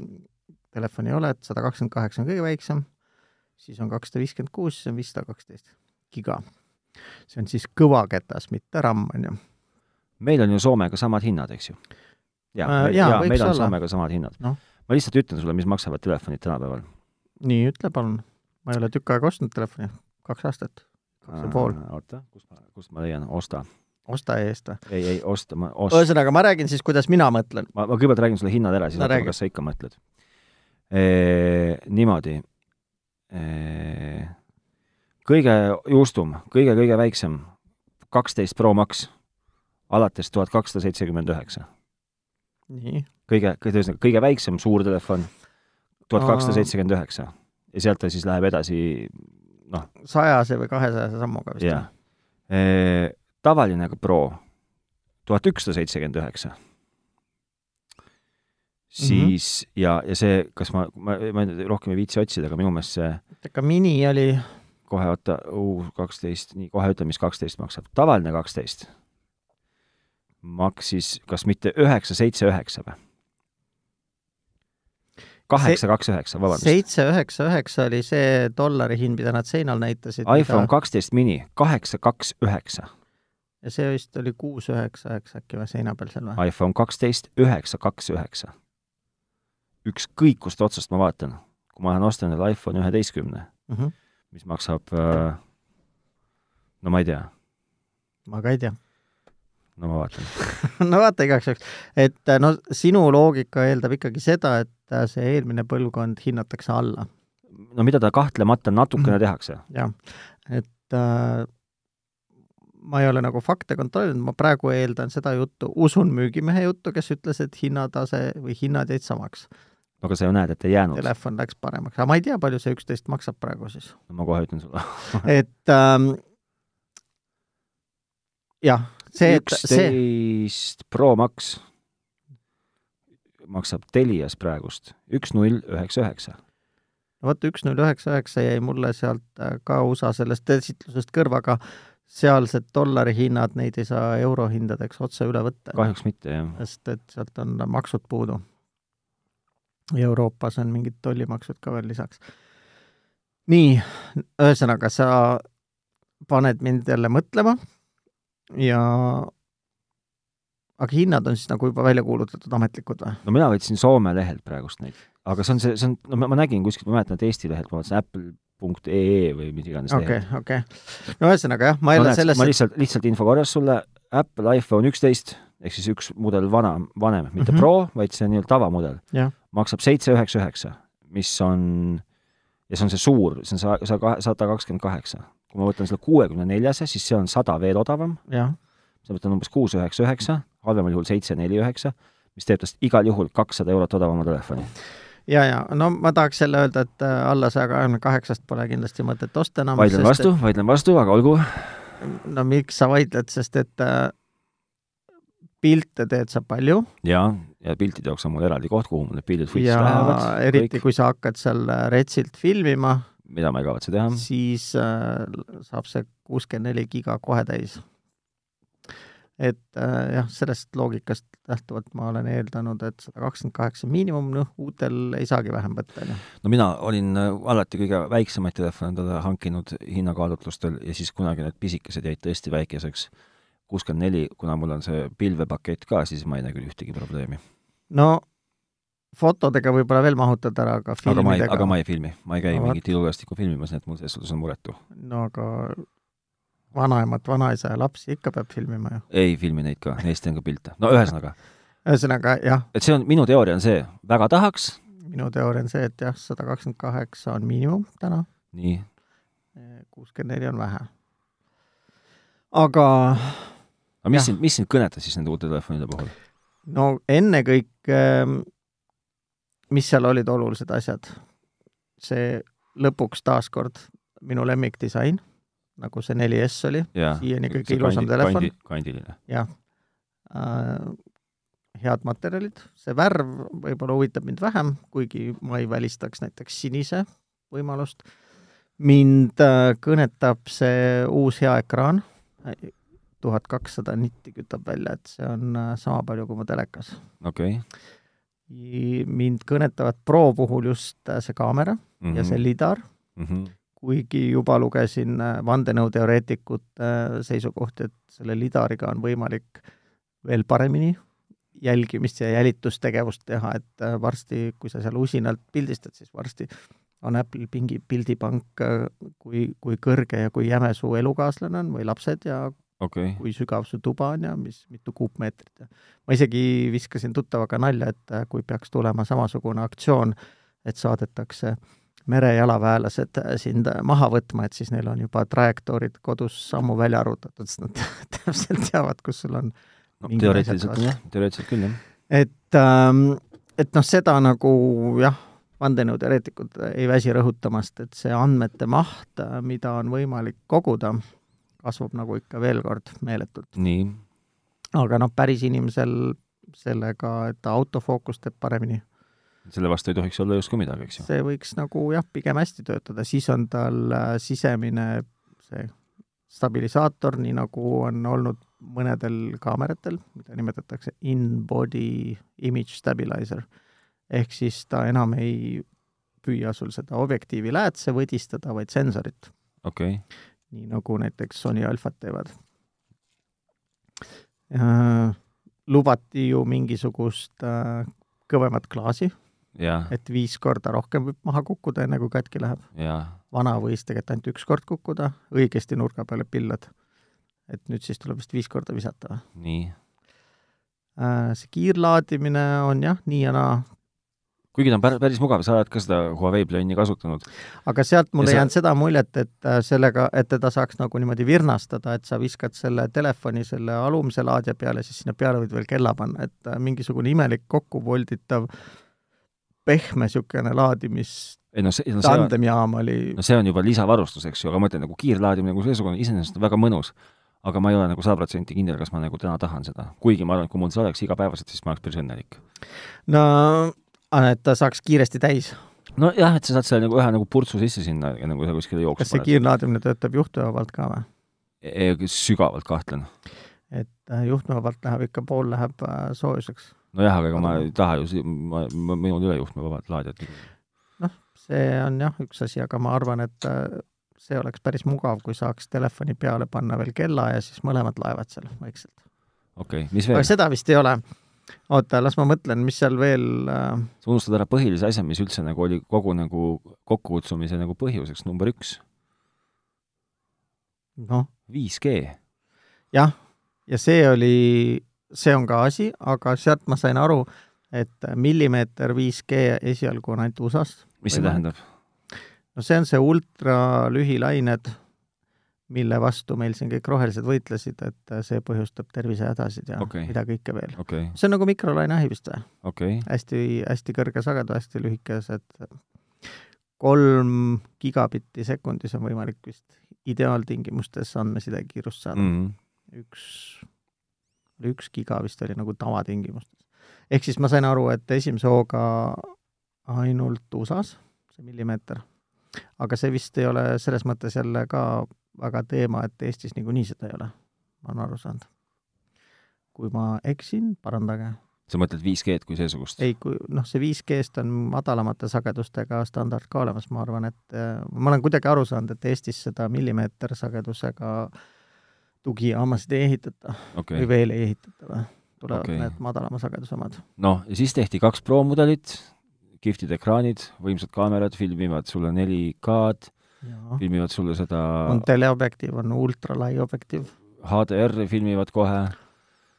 Speaker 2: telefoni ei ole , et sada kakskümmend kaheksa on kõige väiksem , siis on kakssada viiskümmend kuus , siis on viissada kaksteist giga . see on siis kõvaketas , mitte RAM , on ju .
Speaker 1: meil on ju Soomega samad hinnad , eks ju ? jaa
Speaker 2: Äh, , jaa,
Speaker 1: jaa ,
Speaker 2: võiks
Speaker 1: meil on
Speaker 2: olla.
Speaker 1: Soomega samad hinnad
Speaker 2: Noh.
Speaker 1: ma lihtsalt ütlen sulle , mis maksavad telefonid tänapäeval .
Speaker 2: nii , ütle palun . ma ei ole tükk aega ostnud telefoni , kaks aastat , kaks ja pool ..
Speaker 1: oota , kus ma , kust ma leian , osta .
Speaker 2: osta eest .
Speaker 1: ei , ei osta , ma ostan .
Speaker 2: ühesõnaga , ma räägin siis , kuidas mina mõtlen .
Speaker 1: ma , ma kõigepealt räägin sulle hinnad ära , siis
Speaker 2: No
Speaker 1: vaatame ,
Speaker 2: räägi.
Speaker 1: kas sa ikka mõtled . niimoodi . kõige juustum , kõige-kõige väiksem , kaksteist Pro Max , alates tuhat kakssada seitsekümmend üheksa .
Speaker 2: nii
Speaker 1: kõige , kõige , ühesõnaga kõige väiksem suurtelefon , tuhat kakssada seitsekümmend üheksa ja sealt ta siis läheb edasi ,
Speaker 2: sajase või kahesajase sammuga vist
Speaker 1: jah . tavaline Pro , tuhat ükssada seitsekümmend üheksa . siis mm -hmm. ja , ja see , kas ma , ma , ma ei- rohkem ei viitsi otsida , aga minu meelest see
Speaker 2: või ? ega mini oli ,
Speaker 1: kohe oota , kaksteist , nii kohe ütle , mis kaksteist maksab , tavaline kaksteist maksis kas mitte üheksa , seitse , üheksa või ? kaheksa , kaks , üheksa , vabandust .
Speaker 2: seitse üheksa üheksa oli see dollari hind , mida nad seinal näitasid .
Speaker 1: iPhone kaksteist mini , kaheksa , kaks , üheksa .
Speaker 2: ja see vist oli kuus üheksa üheksa äkki või seina peal seal või ?
Speaker 1: iPhone kaksteist , üheksa , kaks , üheksa . ükskõik kust otsast ma vaatan , kui ma lähen ostan endale iPhone üheteistkümne ,
Speaker 2: Mhm.
Speaker 1: mis maksab äh, no ma ei tea ,
Speaker 2: ma ka ei tea .
Speaker 1: no ma vaatan .
Speaker 2: no vaata igaks juhuks , et äh, no sinu loogika eeldab ikkagi seda , et äh, see eelmine põlvkond hinnatakse alla ,
Speaker 1: no mida ta kahtlemata natukene
Speaker 2: Mhm.
Speaker 1: tehakse .
Speaker 2: jah . et äh, ma ei ole nagu fakte kontrollinud , ma praegu eeldan seda juttu , usun müügimehe juttu , kes ütles , et hinnatase või hinnad jäid samaks .
Speaker 1: no aga sa ju näed , et ei jäänud .
Speaker 2: telefon läks paremaks , aga ma ei tea , palju see üksteist maksab praegu siis ,
Speaker 1: ma kohe ütlen sulle .
Speaker 2: et ähm, jah , see , et see ,
Speaker 1: üksteist Pro Max maksab Telias praegust üks null üheksa üheksa .
Speaker 2: vot üks null üheksa üheksa jäi mulle sealt äh, ka USA sellest esitlusest kõrvaga , sealsed dollari hinnad , neid ei saa eurohindadeks otse üle võtta ,
Speaker 1: kahjuks mitte , jah .
Speaker 2: sest et sealt on maksud puudu . Euroopas on mingid tollimaksud ka veel lisaks . nii , ühesõnaga , sa paned mind jälle mõtlema ja aga hinnad on siis nagu juba välja kuulutatud ametlikud või ?
Speaker 1: no mina võtsin Soome lehelt praegust neid , aga see on see , see on , no ma, ma nägin kuskilt , ma mäletan , et Eesti lehelt ma vaatasin Apple.ee E või mis iganes
Speaker 2: okei
Speaker 1: lehelt . ,
Speaker 2: okei . no ühesõnaga jah , ma ei ole selles
Speaker 1: ma , lihtsalt , lihtsalt info korras sulle , Apple iPhone üksteist ehk siis üks mudel vana , vanem , mitte mm
Speaker 2: Mhm.
Speaker 1: -hmm. Pro , vaid see nii-öelda tavamudel
Speaker 2: Jah. ,
Speaker 1: maksab seitse üheksa üheksa , mis on , ja see on see suur , see on sada , sada kakskümmend kaheksa , kui ma võtan selle kuuekümne neljase, siis see on sada veel odavam,
Speaker 2: jah,
Speaker 1: see võtan umbes kuus üheksa üheksa, halvemal juhul seitse neli üheksa, mis teeb tast igal juhul kakssada eurot odavama telefoni.
Speaker 2: ja , ja no ma tahaks jälle öelda , et äh, alla saja kahekümne kaheksast pole kindlasti mõtet osta enam .
Speaker 1: vaidlen vastu , vaidlen vastu , aga olgu ,
Speaker 2: no miks sa vaidled , sest et äh, pilte teed sa palju
Speaker 1: jaa , ja piltide jaoks on mul eraldi koht , kuhu mul need pildid võiks
Speaker 2: ja
Speaker 1: lähevad ,
Speaker 2: eriti
Speaker 1: kõik ,
Speaker 2: kui sa hakkad seal äh, retsilt filmima ,
Speaker 1: mida ma ei kavatse teha .
Speaker 2: siis äh, saab see kuuskümmend neli giga kohe täis . et äh, jah , sellest loogikast lähtuvalt ma olen eeldanud , et sada kakskümmend kaheksa miinimum , noh , uutel ei saagi vähem võtta , noh. on ju .
Speaker 1: no mina olin äh, alati kõige väiksemaid telefone endale hankinud hinnakaalutlustel ja siis kunagi need pisikesed jäid tõesti väikeseks . kuuskümmend neli , kuna mul on see pilvepakett ka , siis ma ei näe küll ühtegi probleemi .
Speaker 2: no fotodega võib-olla veel mahutad ära , aga
Speaker 1: aga ma ei ,
Speaker 2: filmidega
Speaker 1: aga ma ei filmi , ma ei käi
Speaker 2: No
Speaker 1: no,
Speaker 2: vot.
Speaker 1: mingit ilukastikku filmimas , nii et mul selles suhtes on muretu .
Speaker 2: no aga vanaemat , vanaisa ja lapsi ikka peab filmima ju .
Speaker 1: ei filmi neid ka , neist teen ka pilte . no ühesõnaga ,
Speaker 2: ühesõnaga jah ,
Speaker 1: et see on , minu teooria on see , väga tahaks ,
Speaker 2: minu teooria on see , et jah , sada kakskümmend kaheksa on miinimum täna ,
Speaker 1: nii ,
Speaker 2: kuuskümmend neli on vähe . aga
Speaker 1: aga mis
Speaker 2: Jah.
Speaker 1: sind , mis sind kõnetas siis nende uute telefonide puhul ?
Speaker 2: no ennekõike , mis seal olid olulised asjad ? see lõpuks taaskord minu lemmikdisain , nagu see 4S oli ,
Speaker 1: jaa .
Speaker 2: siiani kõige ilusam telefon .
Speaker 1: kandiline .
Speaker 2: äh, head materjalid , see värv võib-olla huvitab mind vähem , kuigi ma ei välistaks näiteks sinise võimalust . mind äh, kõnetab see uus hea ekraan , tuhat kakssada nitti kütab välja , et see on äh, sama palju kui mu telekas .
Speaker 1: okei .
Speaker 2: mind kõnetavad Pro puhul just äh, see kaamera mm -hmm.
Speaker 1: Mhm.
Speaker 2: ja see lidar , kuigi juba lugesin äh, vandenõuteoreetikute äh, seisukohti , et selle lidariga on võimalik veel paremini jälgimist ja jälitustegevust teha , et äh, varsti , kui sa seal usinalt pildistad , siis varsti on Apple'il pingi , pildipank , kui , kui kõrge ja kui jäme su elukaaslane on või lapsed ja
Speaker 1: okei .
Speaker 2: kui sügav su tuba on ja mis , mitu kuupmeetrit ja ma isegi viskasin tuttavaga nalja , et äh, kui peaks tulema samasugune aktsioon , et saadetakse merejalaväelased äh, sind maha võtma , et siis neil on juba trajektoorid kodus ammu välja arvutatud , sest nad täpselt teavad , kus sul on .
Speaker 1: no
Speaker 2: mingid
Speaker 1: teoreetiliselt
Speaker 2: asjad
Speaker 1: on jah , teoreetiliselt küll jah .
Speaker 2: et , et noh , seda nagu jah , vandenõuteoreetikud ei väsi rõhutamast , et see andmete maht , mida on võimalik koguda , kasvab nagu ikka veel kord meeletult .
Speaker 1: nii ,
Speaker 2: aga noh , päris inimesel sellega , et autofookus teeb paremini ,
Speaker 1: selle vastu ei tohiks olla justkui midagi , eks ju .
Speaker 2: see võiks nagu jah , pigem hästi töötada , siis on tal äh, sisemine see stabilisaator , nii nagu on olnud mõnedel kaameratel , mida nimetatakse in-body image stabilizer . ehk siis ta enam ei püüa sul seda objektiivi läätse võdistada , vaid sensorit .
Speaker 1: okei okay. ,
Speaker 2: nii nagu näiteks Sony Alphad teevad . lubati ju mingisugust äh, kõvemat klaasi ,
Speaker 1: jaa ,
Speaker 2: et viis korda rohkem võib maha kukkuda , enne kui katki läheb .
Speaker 1: jaa .
Speaker 2: vana võis tegelikult ainult üks kord kukkuda , õigesti nurga peale pillad . et nüüd siis tuleb vist viis korda visata või ?
Speaker 1: nii .
Speaker 2: see kiirlaadimine on jah , nii ja naa ,
Speaker 1: kuigi ta on pär- , päris mugav , sa oled ka seda Huawei Plane'i kasutanud .
Speaker 2: aga sealt mul
Speaker 1: Ja
Speaker 2: ei
Speaker 1: sa-
Speaker 2: jäänud seda muljet , et äh, sellega , et teda saaks nagu niimoodi virnastada , et sa viskad selle telefoni selle alumise laadija peale , siis sinna peale võid veel kella panna , et äh, mingisugune imelik kokkuvolditav pehme niisugune laadimis- ,
Speaker 1: ei noh , see , no see on ,
Speaker 2: tandemjaam oli
Speaker 1: no see on juba lisavarustus , eks ju , aga ma ütlen nagu kiirlaadimine kui seesugune iseenesest on väga mõnus , aga ma ei ole nagu sada protsenti kindel , kas ma nagu täna tahan seda . kuigi ma arvan , et kui mul see oleks igapäevaselt , siis ma oleks päris õnnelik .
Speaker 2: no aga et ta saaks kiiresti täis .
Speaker 1: nojah , et sa saad selle nagu ühe nagu purtsu sisse sinna , enne kui sa kuskile
Speaker 2: kas
Speaker 1: jooksma
Speaker 2: see
Speaker 1: lähed .
Speaker 2: kiirlaadimine töötab juhtmevabalt ka või ?
Speaker 1: E, sügavalt kahtlen .
Speaker 2: et äh, juhtmevabalt läheb ikka , pool läheb äh, soojuseks .
Speaker 1: nojah , aga ega ma ei taha ju si- , ma , ma , minul ei ole juhtmevabad laadijad .
Speaker 2: see on jah , üks asi , aga ma arvan , et äh, see oleks päris mugav , kui saaks telefoni peale panna veel kella ja siis mõlemad laevad seal vaikselt .
Speaker 1: okei okay, , mis
Speaker 2: aga
Speaker 1: veel ?
Speaker 2: seda vist ei ole . oota , las ma mõtlen , mis seal veel äh,
Speaker 1: sa unustad ära põhilise asja , mis üldse nagu oli kogu nagu kokkukutsumise nagu põhjuseks , number üks ,
Speaker 2: noh ,
Speaker 1: 5G .
Speaker 2: jah , ja see oli , see on ka asi , aga sealt ma sain aru , et äh, millimeeter 5G esialgu on ainult USA-s .
Speaker 1: mis see
Speaker 2: Võimalik.
Speaker 1: tähendab ?
Speaker 2: no see on see ultralühilained , mille vastu meil siin kõik rohelised võitlesid, et äh, see põhjustab tervisehädasid ja
Speaker 1: Okei.
Speaker 2: okay. mida kõike veel .
Speaker 1: okei ,
Speaker 2: see on nagu mikrolaineahi vist või ?
Speaker 1: okei ,
Speaker 2: hästi , hästi kõrge sagedus , hästi lühikesed , kolm gigabitti sekundis on võimalik vist ideaaltingimustes andmesidekiirust saada mm. ,
Speaker 1: Mhm.
Speaker 2: üks , üks giga vist oli nagu tavatingimustes . ehk siis ma sain aru , et esimese hooga ainult USA-s see millimeeter , aga see vist ei ole selles mõttes jälle ka väga teema , et Eestis niikuinii seda ei ole , ma olen aru saanud . kui ma eksin , parandage
Speaker 1: sa mõtled 5G-d kui seesugust ?
Speaker 2: ei , kui noh , see 5G-st on madalamate sagedustega standard ka olemas , ma arvan , et äh, ma olen kuidagi aru saanud , et Eestis seda millimeetersagedusega tugijaamasid ei ehitata okay.
Speaker 1: okei
Speaker 2: või
Speaker 1: okay. ,
Speaker 2: veel ei ehitata või ? tulevad
Speaker 1: Okei.
Speaker 2: okay. need madalama sageduse omad .
Speaker 1: noh , ja siis tehti kaks Pro mudelit , kihvtid ekraanid , võimsad kaamerad filmivad sulle 4K-d , filmivad sulle seda
Speaker 2: on teleobjektiiv , on ultralai objektiiv
Speaker 1: HDR-i filmivad kohe ,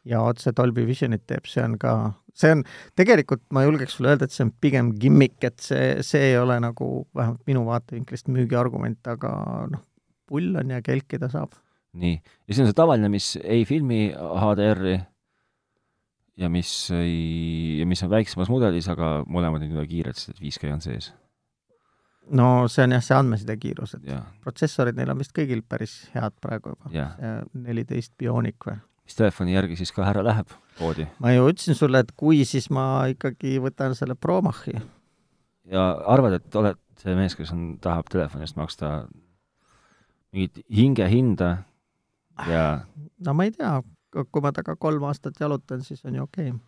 Speaker 2: ja otse Dolby Visionit teeb , see on ka , see on , tegelikult ma julgeks sulle öelda , et see on pigem gimmick , et see , see ei ole nagu vähemalt minu vaatevinklist müügiargument , aga noh , pull on ja kelkida saab .
Speaker 1: nii . ja siis on see tavaline , mis ei filmi HDR-i ja mis ei , ja mis on väiksemas mudelis , aga mõlemad on kuidagi kiired , sest et 5G on sees .
Speaker 2: no see on jah , see andmeside kiirus , et
Speaker 1: jah ,
Speaker 2: protsessorid neil on vist kõigil päris head praegu juba .
Speaker 1: jah .
Speaker 2: neliteist Bionic või ?
Speaker 1: mis telefoni järgi siis ka ära läheb poodi
Speaker 2: ma ju ütlesin sulle , et kui , siis ma ikkagi võtan selle Promachi .
Speaker 1: ja arvad , et oled see mees , kes on , tahab telefoni eest maksta mingit hingehinda ja
Speaker 2: no ma ei tea , kui ma taga kolm aastat jalutan , siis on ju okei okay. .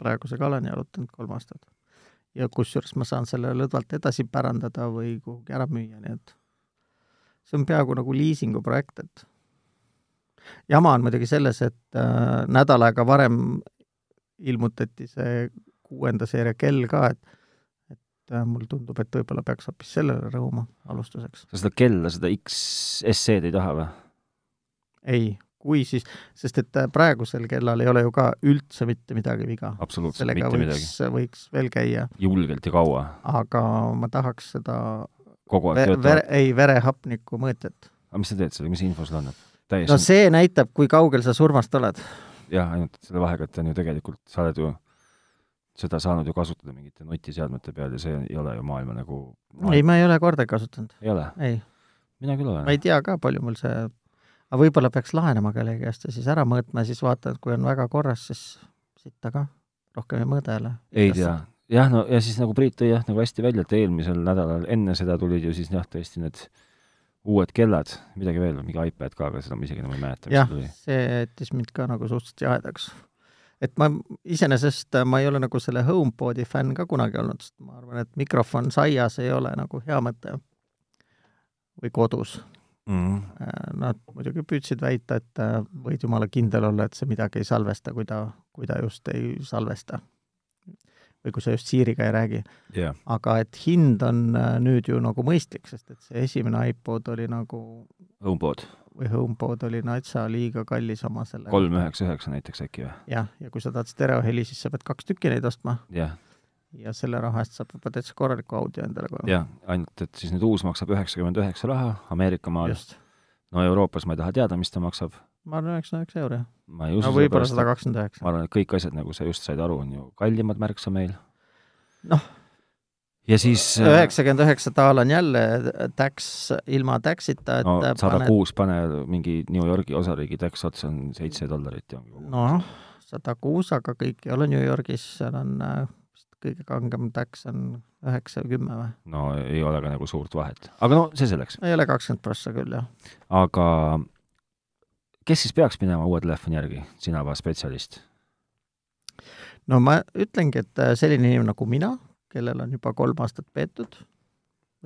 Speaker 2: praegusega olen jalutanud kolm aastat . ja kusjuures ma saan selle lõdvalt edasi pärandada või kuhugi ära müüa , nii et see on peaaegu nagu liisinguprojekt , et jama on muidugi selles , et äh, nädal aega varem ilmutati see kuuenda seeria kell ka , et et äh, mulle tundub , et võib-olla peaks hoopis sellele rõhuma alustuseks .
Speaker 1: sa seda kella , seda XSC-d ei taha või ?
Speaker 2: ei , kui siis , sest et äh, praegusel kellal ei ole ju ka üldse mitte midagi viga .
Speaker 1: absoluutselt
Speaker 2: sellega
Speaker 1: mitte midagi .
Speaker 2: võiks , võiks veel käia ,
Speaker 1: julgelt ja kaua ,
Speaker 2: aga ma tahaks seda
Speaker 1: kogu aeg
Speaker 2: ver, ver,
Speaker 1: töötavad .
Speaker 2: ei , verehapniku mõõtjat .
Speaker 1: aga mis sa teed sellega , mis info sul annab ?
Speaker 2: no
Speaker 1: täiesti ,
Speaker 2: see näitab , kui kaugel sa surmast oled .
Speaker 1: jah , ainult selle vahega , et ta on ju tegelikult , sa oled ju seda saanud ju kasutada mingite nutiseadmete peal ja see ei ole ju maailma nagu no,
Speaker 2: ei , ma ei ole kordagi kasutanud ,
Speaker 1: ei ole ,
Speaker 2: ei .
Speaker 1: mina küll
Speaker 2: ma
Speaker 1: olen .
Speaker 2: ei tea ka , palju mul see , aga võib-olla peaks laenama kellegi käest ja siis ära mõõtma ja siis vaatad , kui on väga korras , siis sitta ka . rohkem ei mõõda jälle .
Speaker 1: ei tea . jah , no ja siis nagu Priit tõi jah nagu hästi välja , et eelmisel nädalal enne seda tulid ju siis jah , tõesti need uued kellad , midagi veel , mingi iPad ka , aga seda ma isegi enam ei mäleta , mis
Speaker 2: jah
Speaker 1: see tuli .,
Speaker 2: see jättis mind ka nagu suhteliselt jahedaks . et ma iseenesest , ma ei ole nagu selle HomePodi fänn ka kunagi olnud , sest ma arvan , et mikrofon saias ei ole nagu hea mõte . või kodus .
Speaker 1: Mm.
Speaker 2: Mhm. Nad muidugi püüdsid väita , et äh, võid jumala kindel olla , et see midagi ei salvesta , kui ta , kui ta just ei salvesta . või kui sa just Siiriga ei räägi .
Speaker 1: Yeah.
Speaker 2: aga et hind on äh, nüüd ju nagu mõistlik , sest et see esimene iPod oli nagu
Speaker 1: HomePod
Speaker 2: või HomePod oli natsa liiga kallis oma selle
Speaker 1: kolm üheksa üheksa näiteks äkki või ?
Speaker 2: jah , ja kui sa tahad stereoheli , siis sa pead kaks tükki neid ostma
Speaker 1: jah ,
Speaker 2: ja selle raha eest saab juba täitsa korraliku audio endale kohe .
Speaker 1: jah , ainult et siis nüüd uus maksab üheksakümmend üheksa raha Ameerika maal ,
Speaker 2: just .
Speaker 1: no Euroopas ma ei taha teada , mis ta maksab ,
Speaker 2: ma arvan , üheksakümmend üheksa euri .
Speaker 1: ma ei usu
Speaker 2: no võib-olla
Speaker 1: sellepärast,
Speaker 2: sada kakskümmend
Speaker 1: ma
Speaker 2: üheksa .
Speaker 1: arvan , et kõik asjad , nagu sa just said aru , on ju kallimad märksa meil .
Speaker 2: Noh. .
Speaker 1: ja siis
Speaker 2: üheksakümmend üheksa taal on jälle täks , ilma täksita ,
Speaker 1: äh,
Speaker 2: et
Speaker 1: no
Speaker 2: paned-
Speaker 1: sada kuus pane mingi New Yorgi osariigi taks otsa on seitse dollarit ja
Speaker 2: noh , sada kuus , aga kõik ei ole New Yorgis , seal on äh, vist kõige kangem täks on üheksa või kümme või ?
Speaker 1: no ei ole ka nagu suurt vahet , aga no see selleks ,
Speaker 2: ei ole kakskümmend prossa küll , jah .
Speaker 1: aga kes siis peaks minema uue telefoni järgi , sina või spetsialist ?
Speaker 2: no ma ütlengi , et äh, selline inimene nagu mina , kellel on juba kolm aastat peetud ,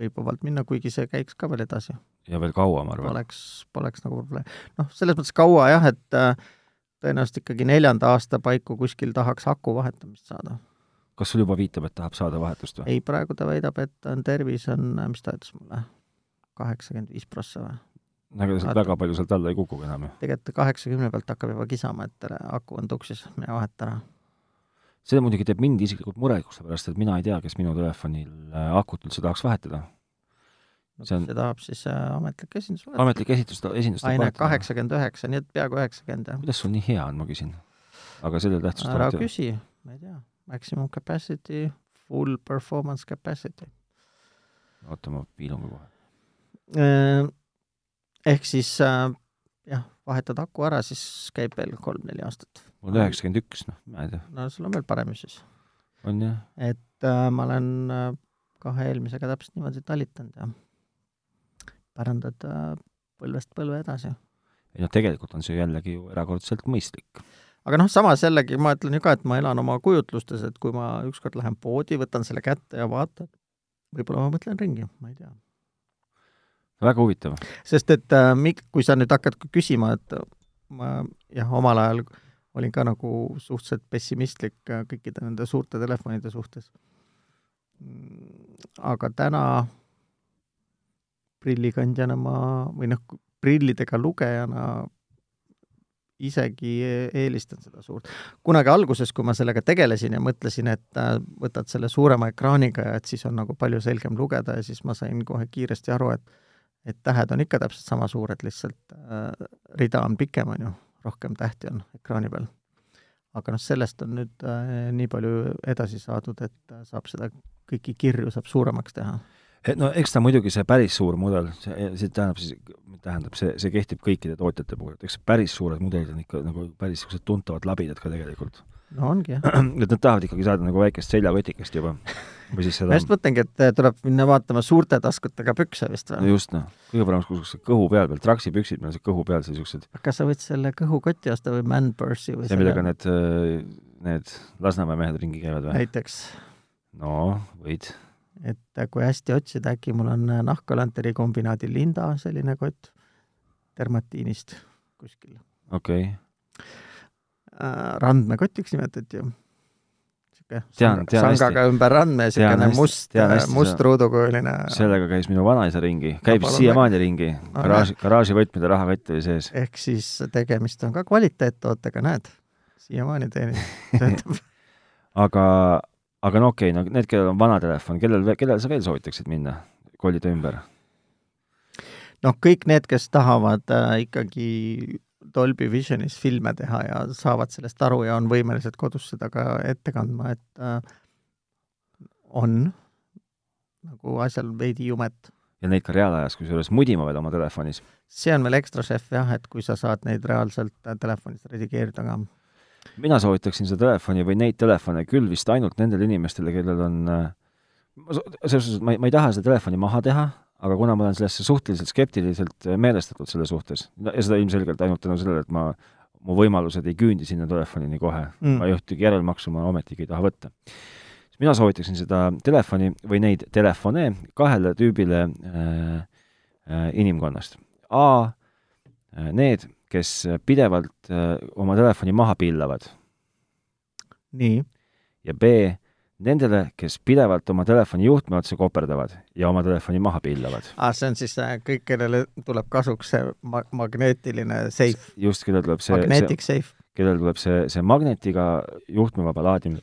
Speaker 2: võib vabalt minna , kuigi see käiks ka veel edasi .
Speaker 1: ja veel kaua , ma arvan .
Speaker 2: poleks , poleks nagu probleem . noh , selles mõttes kaua jah , et äh, tõenäoliselt ikkagi neljanda aasta paiku kuskil tahaks aku vahetamist saada .
Speaker 1: kas sul juba viitab , et tahab saada vahetust või ?
Speaker 2: ei , praegu ta väidab , et on tervis on , mis ta ütles mulle , kaheksakümmend viis prossa või ?
Speaker 1: ega sealt
Speaker 2: Vaata.
Speaker 1: Nagu väga palju sealt alla ei kukugi enam ju .
Speaker 2: tegelikult kaheksakümne pealt hakkab juba kisama , et tere, aku on tuksis , mine vaheta ära .
Speaker 1: see muidugi teeb mind isiklikult murelikuks , sellepärast et mina ei tea , kes minu telefonil äh, akut üldse tahaks vahetada .
Speaker 2: no,
Speaker 1: See on-
Speaker 2: kui see tahab siis äh, ametlik esindus võtta .
Speaker 1: ametlik esitus , esindus
Speaker 2: aine . kaheksakümmend üheksa , nii et peaaegu üheksakümmend jah .
Speaker 1: kuidas sul nii hea on , ma küsin . aga selle tähtsust
Speaker 2: ära
Speaker 1: alati-
Speaker 2: küsi , ma ei tea , maximum capacity , full performance capacity .
Speaker 1: oota , ma piilun ka kohe .
Speaker 2: Äh, ehk siis äh, jah , vahetad aku ära , siis käib veel kolm-neli aastat .
Speaker 1: mul on üheksakümmend üks , noh , ma ei tea ,
Speaker 2: no sul on veel parem siis .
Speaker 1: on jah .
Speaker 2: et äh, ma olen äh, kahe eelmisega täpselt niimoodi talitanud ja pärandad äh, põlvest põlve edasi .
Speaker 1: ei noh , tegelikult on see jällegi ju erakordselt mõistlik .
Speaker 2: aga noh , samas jällegi ma ütlen ju ka , et ma elan oma kujutlustes , et kui ma ükskord lähen poodi , võtan selle kätte ja vaatan , võib-olla ma mõtlen ringi , ma ei tea .
Speaker 1: väga huvitav .
Speaker 2: sest et äh, mik- , kui sa nüüd hakkad ka küsima , et ma jah , omal ajal olin ka nagu suhteliselt pessimistlik äh, kõikide nende suurte telefonide suhtes . aga täna prillikandjana ma või noh , prillidega lugejana isegi e-, eelistan seda suurt . kunagi alguses , kui ma sellega tegelesin ja mõtlesin , et äh, võtad selle suurema ekraaniga ja et siis on nagu palju selgem lugeda ja siis ma sain kohe kiiresti aru , et et tähed on ikka täpselt sama suured , lihtsalt äh, rida on pikem , on ju , rohkem tähti on ekraani peal . aga noh , sellest on nüüd äh, nii palju edasi saadud , et äh, saab seda kõiki kirju saab suuremaks teha .
Speaker 1: et E, no eks ta muidugi see päris suur mudel , see , see tähendab siis , tähendab , see , see kehtib kõikide tootjate puhul , et eks päris suured mudelid on ikka nagu päris niisugused tuntavad labidad ka tegelikult .
Speaker 2: no ongi jah .
Speaker 1: et nad tahavad ikkagi saada nagu väikest seljakotikest juba või siis
Speaker 2: ma
Speaker 1: seda
Speaker 2: just mõtlengi , et äh, tuleb minna vaatama suurte taskutega pükse vist
Speaker 1: no
Speaker 2: või ?
Speaker 1: just noh , kõige parem oleks niisugused kõhu peal peal , traksipüksid , meil on see kõhu peal see niisugused ,
Speaker 2: kas sa võid selle kõhukoti osta või man-purse'i või
Speaker 1: see millega need , need Lasnamäe mehed ringi käivad või ?
Speaker 2: näiteks ,
Speaker 1: no võid ,
Speaker 2: et äh, kui hästi otsida , äkki mul on äh, nahkalanteri kombinaadi Linda selline kott dermatiinist kuskil .
Speaker 1: okei okay. ,
Speaker 2: äh, randmekotiks nimetati ju . sihuke
Speaker 1: Tean- tean hästi.
Speaker 2: sangaga ümber randme ,
Speaker 1: Tean
Speaker 2: siukene
Speaker 1: hästi-
Speaker 2: must äh,
Speaker 1: tean hästi ,
Speaker 2: must
Speaker 1: seda.
Speaker 2: ruudukujuline .
Speaker 1: sellega käis minu vanaisa ringi , käib
Speaker 2: Äh. palun
Speaker 1: siiamaani ringi , garaaži , garaaživõtmed ja rahakott oli sees .
Speaker 2: ehk siis tegemist on ka kvaliteettootega , näed , siiamaani teenib , töötab .
Speaker 1: aga , aga no okei okay, , no need , kellel on vana telefon , kellel , kellel sa veel soovitaksid minna , kollida ümber ?
Speaker 2: noh , kõik need , kes tahavad äh, ikkagi Dolby Visionis filme teha ja saavad sellest aru ja on võimelised kodus seda ka ette kandma , et äh, on nagu asjal veidi jumet .
Speaker 1: ja neid ka reaalajas , kusjuures mudima veel oma telefonis .
Speaker 2: see on veel ekstra šef jah , et kui sa saad neid reaalselt äh, telefonist redigeerida ka
Speaker 1: mina soovitaksin seda telefoni või neid telefone küll vist ainult nendele inimestele , kellel on , selles suhtes , et ma ei , ma ei taha seda telefoni maha teha , aga kuna ma olen sellesse suhteliselt skeptiliselt äh, meelestatud selle suhtes no, ja seda ilmselgelt ainult tänu sellele , et ma , mu võimalused ei küündi sinna telefonini kohe mm. , ma
Speaker 2: mm. .
Speaker 1: ühtegi järelmaksu ma ometigi ei taha võtta . siis mina soovitaksin seda telefoni või neid telefone kahele tüübile äh, äh, inimkonnast . A äh, need , kes pidevalt äh, oma telefoni maha pillavad
Speaker 2: nii ,
Speaker 1: ja B nendele , kes pidevalt oma telefoni juhtme otsa koperdavad ja oma telefoni maha pillavad .
Speaker 2: see on siis äh, kõik , kellele tuleb kasuks see ma- , magneetiline seif ,
Speaker 1: just , kellel tuleb see, see ,
Speaker 2: magnetic seif ,
Speaker 1: kellel tuleb see , see magnetiga juhtmevaba laadimine .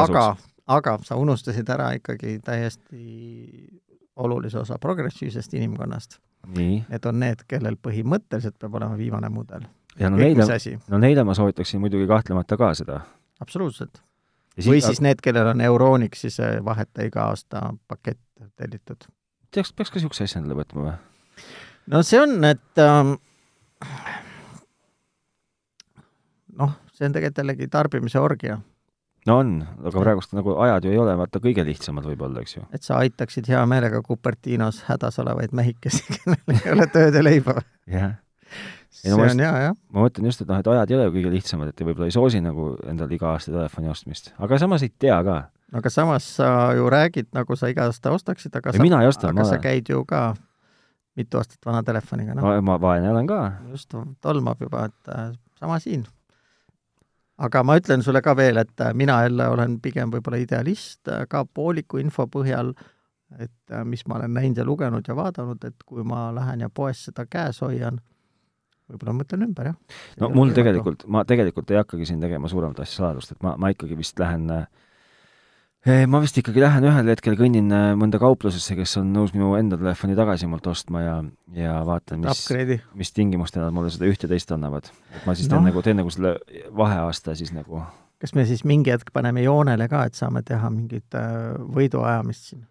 Speaker 2: aga , aga sa unustasid ära ikkagi täiesti olulise osa progressiivsest inimkonnast .
Speaker 1: nii ,
Speaker 2: Need on need , kellel põhimõtteliselt peab olema viimane mudel .
Speaker 1: ja no
Speaker 2: kõik
Speaker 1: neile
Speaker 2: mis , asi ,
Speaker 1: no neile ma soovitaksin muidugi kahtlemata ka seda .
Speaker 2: absoluutselt . või siis need , kellel on Euronixi see vaheta iga aasta pakett tellitud .
Speaker 1: teaks , peaks ka niisuguse asja endale võtma või ?
Speaker 2: no see on , et ähm, noh , see on tegelikult jällegi tarbimise orgia ,
Speaker 1: no on , aga praegust nagu ajad ju ei ole , vaata kõige lihtsamad võib-olla , eks ju .
Speaker 2: et sa aitaksid hea meelega Cupertinos hädas olevaid mehikesi , kellel ei ole tööd ja leiba .
Speaker 1: jah . Ei
Speaker 2: see
Speaker 1: no ma just-
Speaker 2: on hea jah ,
Speaker 1: ma mõtlen just , et noh , et ajad ei ole ju kõige lihtsamad , et võib-olla ei soosi nagu endale iga aasta telefoni ostmist , aga samas ei tea ka .
Speaker 2: aga samas sa ju räägid , nagu sa iga aasta ostaksid , aga
Speaker 1: ei ,
Speaker 2: sa ,
Speaker 1: mina ei osta ,
Speaker 2: aga
Speaker 1: ma
Speaker 2: sa
Speaker 1: olen ,
Speaker 2: käid ju ka mitu aastat vana telefoniga , noh ,
Speaker 1: ma vaene olen ka .
Speaker 2: just tolmab juba , et äh, sama siin . aga ma ütlen sulle ka veel , et äh, mina jälle olen pigem võib-olla idealist äh, ka pooliku info põhjal , et äh, mis ma olen näinud ja lugenud ja vaadanud , et kui ma lähen ja poes seda käes hoian , võib-olla mõtlen ümber , jah .
Speaker 1: no mul . tegelikult , ma tegelikult ei hakkagi siin tegema suuremat asja saladust , et ma , ma ikkagi vist lähen äh, ma vist ikkagi lähen ühel hetkel, kõnnin äh, mõnda kauplusesse, kes on nõus minu enda telefoni tagasi mult ostma ja , ja vaatan , mis ,
Speaker 2: upgrade'i .
Speaker 1: mis tingimustel nad mulle seda üht-teist annavad . et ma siis
Speaker 2: Noh.
Speaker 1: teen nagu , teen nagu selle vaheaasta siis nagu ,
Speaker 2: kas me siis mingi hetk paneme joonele ka , et saame teha mingit äh, võiduajamist siin ,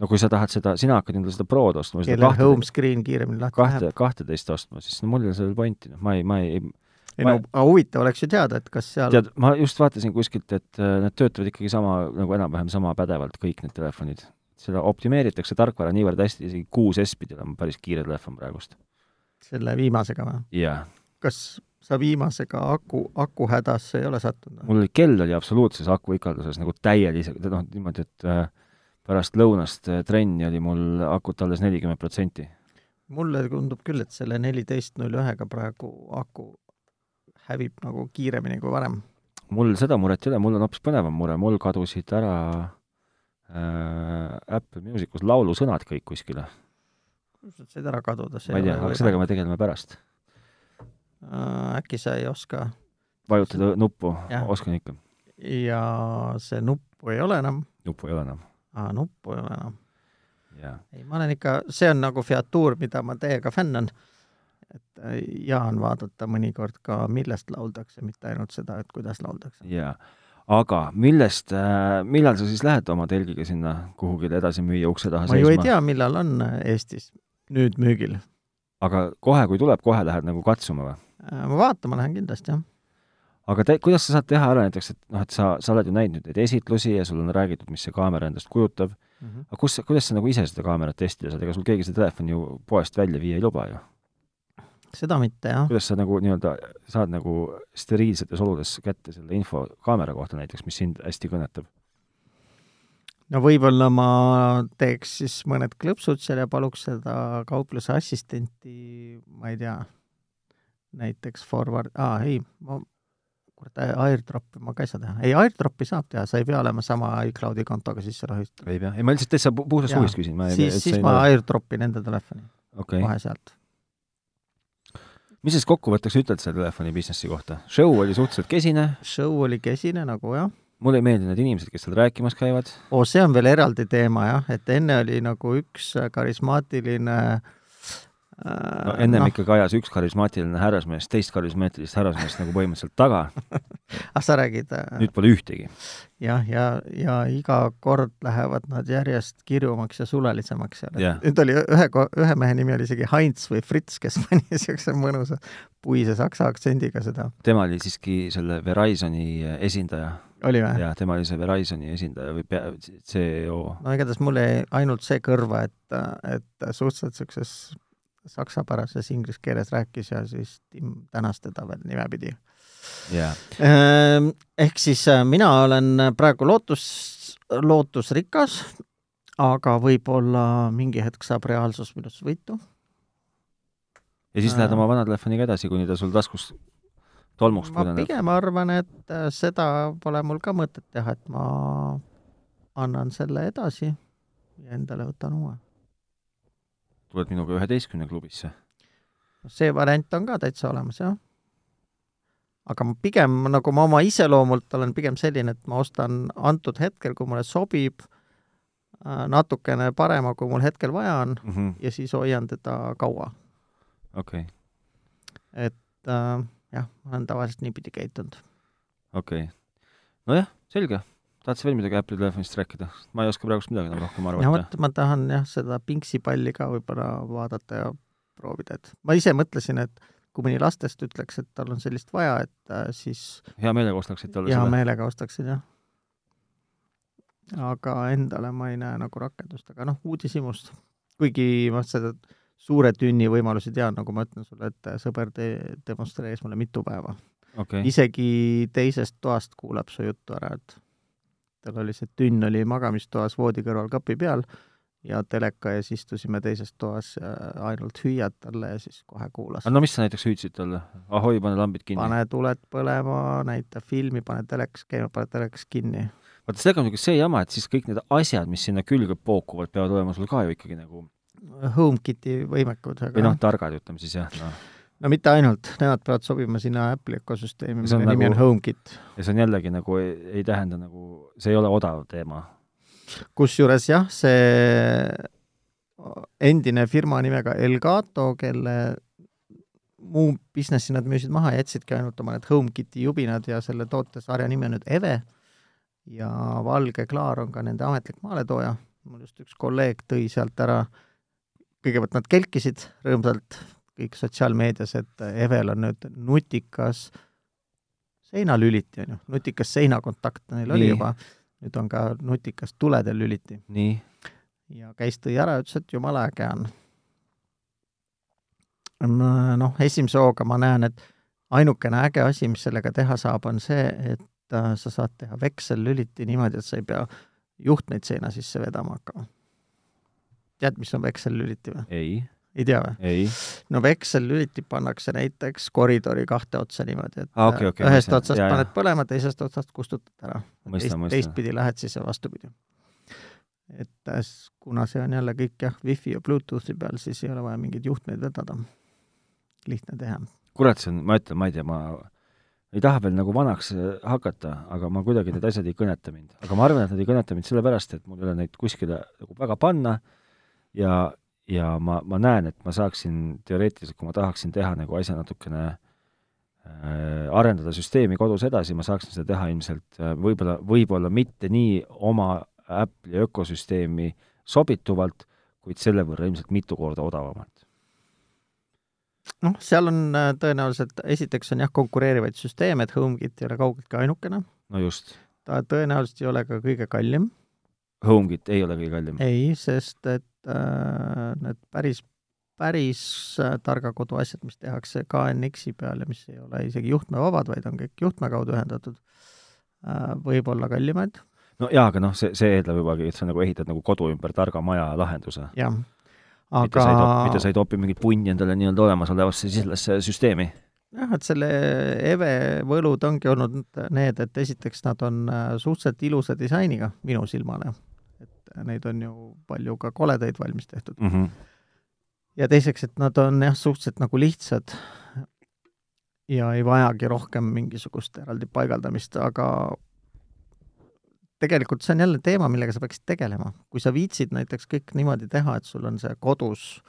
Speaker 1: no kui sa tahad seda , sina hakkad endale seda Prod ostma , seda
Speaker 2: kellel home
Speaker 1: kahte ,
Speaker 2: screen kiiremini lahti läheb
Speaker 1: kahte ,. kahteteist ostma , siis no mul ei ole sellel pointi , noh , ma ei , ma ei ,
Speaker 2: ei no aga huvitav oleks ju teada , et kas seal ,
Speaker 1: tead , ma just vaatasin kuskilt , et äh, nad töötavad ikkagi sama , nagu enam-vähem sama pädevalt kõik need telefonid . seda optimeeritakse tarkvara niivõrd hästi , isegi kuus S pidi olema päris kiire telefon praegust .
Speaker 2: selle viimasega või ?
Speaker 1: jaa ,
Speaker 2: kas sa viimasega aku , aku hädasse ei ole sattunud ?
Speaker 1: mul oli- kell oli absoluutses akuikalduses nagu täielisega , noh , niimoodi , et äh, pärast lõunast äh, trenni oli mul akut alles nelikümmend protsenti .
Speaker 2: mulle tundub küll , et selle neliteist null ühega praegu aku hävib nagu kiiremini kui varem .
Speaker 1: mul seda muret ei ole , mul on hoopis põnevam mure , mul kadusid ära äh, Apple Musicus laulusõnad kõik kuskile .
Speaker 2: sa said ära kaduda , see
Speaker 1: ma ei tea , aga sellega me tegeleme pärast .
Speaker 2: Äh, äkki sa ei oska
Speaker 1: vajutada nuppu
Speaker 2: Jah. ,
Speaker 1: oskan ikka .
Speaker 2: ja see nuppu ei ole enam ,
Speaker 1: nuppu ei ole enam .
Speaker 2: aa , nuppu ei ole enam .
Speaker 1: jaa .
Speaker 2: ei , ma olen ikka , see on nagu featuur , mida ma täiega fänn on . et äh, hea on vaadata mõnikord ka , millest lauldakse , mitte ainult seda , et kuidas lauldakse .
Speaker 1: jaa . aga millest , millal sa siis lähed oma telgiga sinna kuhugile edasi müüa ukse taha
Speaker 2: ma ju ei tea , millal on äh, Eestis nüüd müügil .
Speaker 1: aga kohe , kui tuleb , kohe lähed nagu katsuma või ?
Speaker 2: Äh, ma vaatama lähen kindlasti , jah .
Speaker 1: aga te, kuidas sa saad teha ära näiteks , et noh , et sa , sa oled ju näinud nüüd neid esitlusi ja sul on räägitud , mis see kaamera endast kujutab ,
Speaker 2: Mhm.
Speaker 1: aga kus , kuidas sa nagu ise seda kaamerat testida saad , ega sul keegi seda telefoni ju poest välja viia ei luba ju .
Speaker 2: seda mitte , jah .
Speaker 1: kuidas sa nagu nii-öelda saad nagu steriilsetes oludes kätte selle info kaamera kohta näiteks , mis sind hästi kõnetab ?
Speaker 2: no võib-olla ma teeks siis mõned klõpsud seal ja paluks seda kaupluse assistenti , ma ei tea , näiteks forward , aa ei , ma , kurat , airdropi ma ka ei saa teha . ei , airdropi saab teha , sa ei pea olema sama iCloudi kontoga sisse lohitud .
Speaker 1: ei pea , ei ma lihtsalt täitsa pu- puhtast
Speaker 2: Jaa.
Speaker 1: huvist küsin , ma ei
Speaker 2: siis , siis ma airdropin enda telefoni
Speaker 1: okei
Speaker 2: kohe sealt .
Speaker 1: mis sa siis kokkuvõtteks ütled selle telefoni businessi kohta ? show oli suhteliselt kesine ,
Speaker 2: show oli kesine nagu jah .
Speaker 1: mulle ei meeldi need inimesed , kes seal rääkimas käivad ,
Speaker 2: oo , see on veel eraldi teema jah , et enne oli nagu üks karismaatiline
Speaker 1: no
Speaker 2: äh,
Speaker 1: ennem no. ikkagi ajas üks karismaatiline härrasmees teist karismaatilist härrasmeest nagu põhimõtteliselt taga ,
Speaker 2: ah sa räägid äh,
Speaker 1: nüüd pole ühtegi .
Speaker 2: jah , ja , ja iga kord lähevad nad järjest kirjumaks ja sulelisemaks seal
Speaker 1: Jah.
Speaker 2: yeah. . nüüd oli ühe , ühe mehe nimi oli isegi Heinz või Fritz , kes pani niisuguse mõnusa puise saksa aktsendiga seda .
Speaker 1: tema oli siiski selle Verizoni esindaja
Speaker 2: oli või ?
Speaker 1: ja tema oli see Verizoni esindaja või pea , E CEO .
Speaker 2: no igatahes mul jäi ainult see kõrva , et , et suhteliselt niisuguses saksapärases inglise keeles rääkis ja siis Tim tänas teda veel nimepidi . Äh.
Speaker 1: jaa ,
Speaker 2: Ehm, ehk siis äh, mina olen praegu lootus , lootusrikas , aga võib-olla mingi hetk saab reaalsus minust võitu .
Speaker 1: ja siis
Speaker 2: Aa.
Speaker 1: lähed oma vana telefoniga edasi , kuni ta sul taskus tolmuks
Speaker 2: ma
Speaker 1: pudeneb .
Speaker 2: pigem arvan , et äh, seda pole mul ka mõtet teha , et ma annan selle edasi ja endale võtan uue .
Speaker 1: tuled minuga üheteistkümne klubisse .
Speaker 2: see variant on ka täitsa olemas , jah . aga ma pigem , nagu ma oma iseloomult olen pigem selline , et ma ostan antud hetkel , kui mulle sobib , natukene parema , kui mul hetkel vaja on , ja siis hoian teda kaua .
Speaker 1: Mhm, okei ,
Speaker 2: et äh, jah , ma olen tavaliselt niipidi käitunud .
Speaker 1: okei . nojah , selge . tahad sa veel midagi Apple'i telefonist rääkida ? ma ei oska praegust midagi enam rohkem
Speaker 2: ja
Speaker 1: arvata .
Speaker 2: vot ma tahan jah , seda pingsipalli ka võib-olla vaadata ja proovida , et ma ise mõtlesin , et kui mõni lastest ütleks , et tal on sellist vaja , et äh, siis
Speaker 1: hea meelega ostaksid talle
Speaker 2: hea
Speaker 1: selle .
Speaker 2: meelega ostaksin jah . aga endale ma ei näe nagu rakendust , aga noh , uudishimust . kuigi ma seda suure tünni võimalusi tean , nagu ma ütlen sulle , et sõber te- demonstreeris mulle mitu päeva .
Speaker 1: okei ,
Speaker 2: isegi teisest toast kuulab su juttu ära , et tal oli see tünn oli magamistoas voodi kõrval kapi peal ja teleka ees istusime teises toas ja ainult hüüad talle ja siis kohe kuulas .
Speaker 1: no mis sa näiteks hüüdsid talle ? ahoi , pane lambid kinni .
Speaker 2: pane tuled põlema , näita filmi , pane telekas käima , pane telekas kinni .
Speaker 1: vaata , sellega on muidugi see jama , et siis kõik need asjad , mis sinna külge pookuvad , peavad olema sul ka ju ikkagi nagu ,
Speaker 2: HomeKiti võimekud ,
Speaker 1: või
Speaker 2: aga
Speaker 1: noh , targad , ütleme siis jah , noh .
Speaker 2: no mitte ainult , nemad peavad sobima sinna Apple'i ökosüsteemi ,
Speaker 1: See on
Speaker 2: mille nimi on
Speaker 1: nagu-
Speaker 2: HomeKit .
Speaker 1: ja see on jällegi nagu , ei tähenda nagu , see ei ole odav teema .
Speaker 2: kusjuures jah, see endine firma nimega Elgato, kelle muu businessi nad müüsid maha, jätsidki ainult oma need HomeKiti jubinad ja selle tootesarja nimi on nüüd Eve ja Valge Klaar on ka nende ametlik maaletooja. mul just üks kolleeg tõi sealt ära, kõigepealt nad kelkisid rõõmsalt kõik sotsiaalmeedias, et Evel on nüüd nutikas seinalüliti, on ju, nutikas seinakontakt neil oli
Speaker 1: Nii.
Speaker 2: juba, nüüd on ka nutikas tuledelüliti
Speaker 1: nii ,
Speaker 2: ja käis tõi ära , ütles , et jumala äge on . noh , esimese hooga ma näen , et ainukene äge asi , mis sellega teha saab , on see , et äh, sa saad teha veksellüliti niimoodi , et sa ei pea juhtmeid seina sisse vedama hakkama . tead , mis on veksellüliti või ?
Speaker 1: ei ,
Speaker 2: ei tea või ?
Speaker 1: ei ,
Speaker 2: no veksellüliti pannakse näiteks koridori kahte otsa niimoodi , et
Speaker 1: Aa, Ah, okei, okei,
Speaker 2: äh, ühest
Speaker 1: mõistan.
Speaker 2: otsast
Speaker 1: Jaa,
Speaker 2: paned
Speaker 1: jaa.
Speaker 2: põlema , teisest otsast kustutad ära
Speaker 1: mõistan ,
Speaker 2: teist ,
Speaker 1: mõistan .
Speaker 2: teistpidi lähed siis ja vastupidi . et äh, s- kuna see on jälle kõik jah , wifi ja Bluetoothi peal , siis ei ole vaja mingeid juhtmeid vedada . lihtne teha .
Speaker 1: kurat , see on , ma ütlen , ma ei tea , ma ei taha veel nagu vanaks äh, hakata , aga ma kuidagi need asjad ei kõneta mind . aga ma arvan , et nad ei kõneta mind sellepärast , et mul ei ole neid kuskile nagu väga panna ja , ja ma , ma näen , et ma saaksin teoreetiliselt , kui ma tahaksin teha nagu asja natukene äh, arendada süsteemi kodus edasi , ma saaksin seda teha ilmselt äh, võib-olla , võib-olla mitte nii oma Apple'i ökosüsteemi sobituvalt , kuid selle võrra ilmselt mitu korda odavamalt .
Speaker 2: noh , seal on äh, tõenäoliselt , esiteks on jah , konkureerivaid süsteeme , et HomeKit ei ole kaugeltki ainukene ,
Speaker 1: no just ,
Speaker 2: ta tõenäoliselt ei ole ka kõige kallim .
Speaker 1: Mm. HomeKit ei ole kõige kallim .
Speaker 2: ei , sest et äh, need päris , päris äh, targa kodu asjad , mis tehakse KNX-i peal ja mis ei ole isegi juhtmevabad , vaid on kõik juhtme kaudu ühendatud äh, , võib olla kallimad ,
Speaker 1: no jaa , aga noh , see , see eeldab jubagi , et sa nagu ehitad nagu kodu ümber targa maja lahenduse .
Speaker 2: jah .
Speaker 1: mitte sa ei topi ,
Speaker 2: aga
Speaker 1: mitte sa ei topi mingit punni endale nii-öelda olemasolevasse sellesse süsteemi .
Speaker 2: jah , et selle Eve võlud ongi olnud need , et esiteks nad on äh, suhteliselt ilusa disainiga minu silmale , et neid on ju palju ka koledaid valmis tehtud . ja teiseks , et nad on jah , suhteliselt nagu lihtsad ja ei vajagi rohkem mingisugust eraldi paigaldamist , aga tegelikult see on jälle teema , millega sa peaksid tegelema . kui sa viitsid näiteks kõik niimoodi teha , et sul on see kodus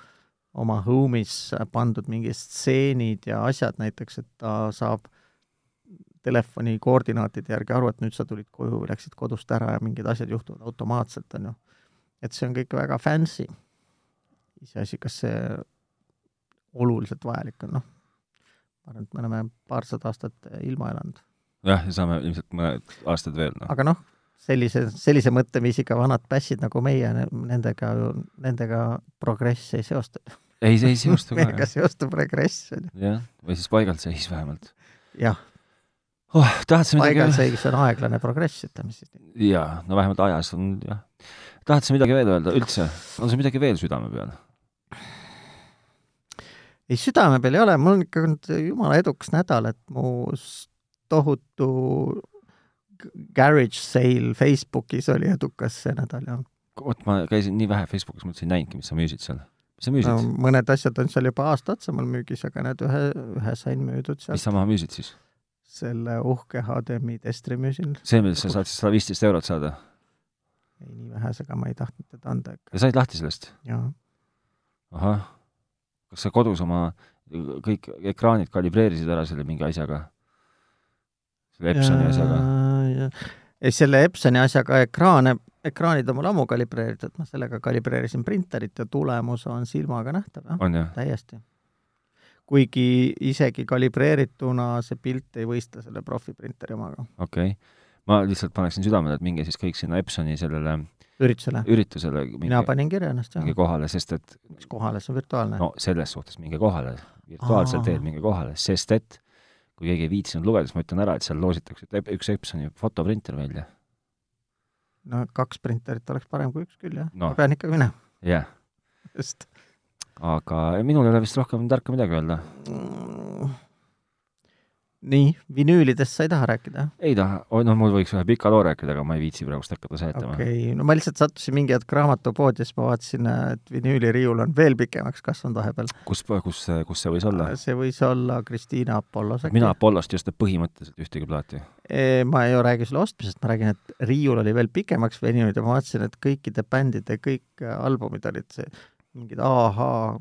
Speaker 2: oma home'is pandud mingid stseenid ja asjad näiteks , et ta saab telefoni koordinaatide järgi aru , et nüüd sa tulid koju , läksid kodust ära ja mingid asjad juhtuvad automaatselt , on ju . et see on kõik väga fancy . iseasi , kas see oluliselt vajalik on , noh , ma arvan , et me oleme paarsada aastat ilma elanud .
Speaker 1: jah , ja saame ilmselt mõned aastad veel , noh .
Speaker 2: aga noh , sellise , sellise mõtteviisiga vanad pässid nagu meie , nendega , nendega progress ei seostu .
Speaker 1: ei , see ei seostu ka ,
Speaker 2: meiega seostub regress , on ju .
Speaker 1: jah . või siis paigalt seis vähemalt .
Speaker 2: jah ,
Speaker 1: oh , tahad sa midagi
Speaker 2: paigal
Speaker 1: veel ?
Speaker 2: seis on aeglane progress , ütleme siis nii .
Speaker 1: jaa , no vähemalt ajas on jah . tahad sa midagi veel öelda üldse ? on sul midagi veel südame peal ?
Speaker 2: ei , südame peal ei ole , mul on ikka olnud jumala edukas nädal , et mu s- tohutu g- garage sale Facebookis oli edukas see nädal ja
Speaker 1: vot ma käisin nii vähe Facebookis , ma üldse ei näinudki , mis sa müüsid seal . mis sa
Speaker 2: no,
Speaker 1: müüsid ?
Speaker 2: Äh, mõned asjad on seal juba aasta otsa mul müügis , aga need ühe , ühe sain müüdud seal
Speaker 1: mis . sa maha müüsid siis ?
Speaker 2: selle uhke HDMI testri müüsin ,
Speaker 1: see , millest sa saad sada viisteist eurot saada
Speaker 2: ei nii vähesega ma ei tahtnud teda anda ikka
Speaker 1: ja said lahti sellest ?
Speaker 2: ja
Speaker 1: ahah , kas sa kodus oma äh, kõik ekraanid kalibreerisid ära selle mingi asjaga ? selle Epsoni ja... asjaga ?.
Speaker 2: ei , selle Epsoni asjaga ekraane , ekraanid on mul ammu kalibreeritud , ma sellega kalibreerisin printerit ja tulemus on silmaga nähtav , jah ,
Speaker 1: on ju ?
Speaker 2: täiesti . kuigi isegi kalibreerituna see pilt ei võista selle profiprinteri omaga ,
Speaker 1: okei okay. . ma lihtsalt paneksin südamele , et minge siis kõik sinna Epsoni sellele
Speaker 2: üritusele .
Speaker 1: üritusele minge,
Speaker 2: mina panin kirja ennast , jah
Speaker 1: minge , kohale , sest et
Speaker 2: mis kohale , see on virtuaalne no. .
Speaker 1: no selles suhtes minge kohale , virtuaalsel
Speaker 2: Aa.
Speaker 1: teel minge kohale , sest et kui keegi ei viitsinud lugeda , siis ma ütlen ära , et seal loositakse ep- üks Epsoni fotoprinter välja .
Speaker 2: no kaks printerit oleks parem kui üks küll , jah
Speaker 1: No.
Speaker 2: no. . ma pean ikka minema ,
Speaker 1: jah yeah. ,
Speaker 2: just .
Speaker 1: aga minul ei ole vist rohkem tarka midagi öelda .
Speaker 2: Mm. nii , vinüülidest sa ei taha rääkida ?
Speaker 1: ei taha , no mul võiks ühe pika loo rääkida , aga ma ei viitsi praegust hakata
Speaker 2: okei
Speaker 1: seletama okay. .
Speaker 2: okay. , no ma lihtsalt sattusin mingi hetk raamatupoodi ja siis ma vaatasin , et vinüüliriiul on veel pikemaks kasvanud vahepeal .
Speaker 1: kus , kus , kus see võis olla ?
Speaker 2: Äh, see võis olla Kristiina Apollos äkki
Speaker 1: mina . Apollost ei osta põhimõtteliselt ühtegi plaati .
Speaker 2: Eh, ma ei räägi selle ostmisest , ma räägin , et riiul oli veel pikemaks veninud ja ma vaatasin , et kõikide bändide kõik äh, albumid olid see , mingid ahhaa ,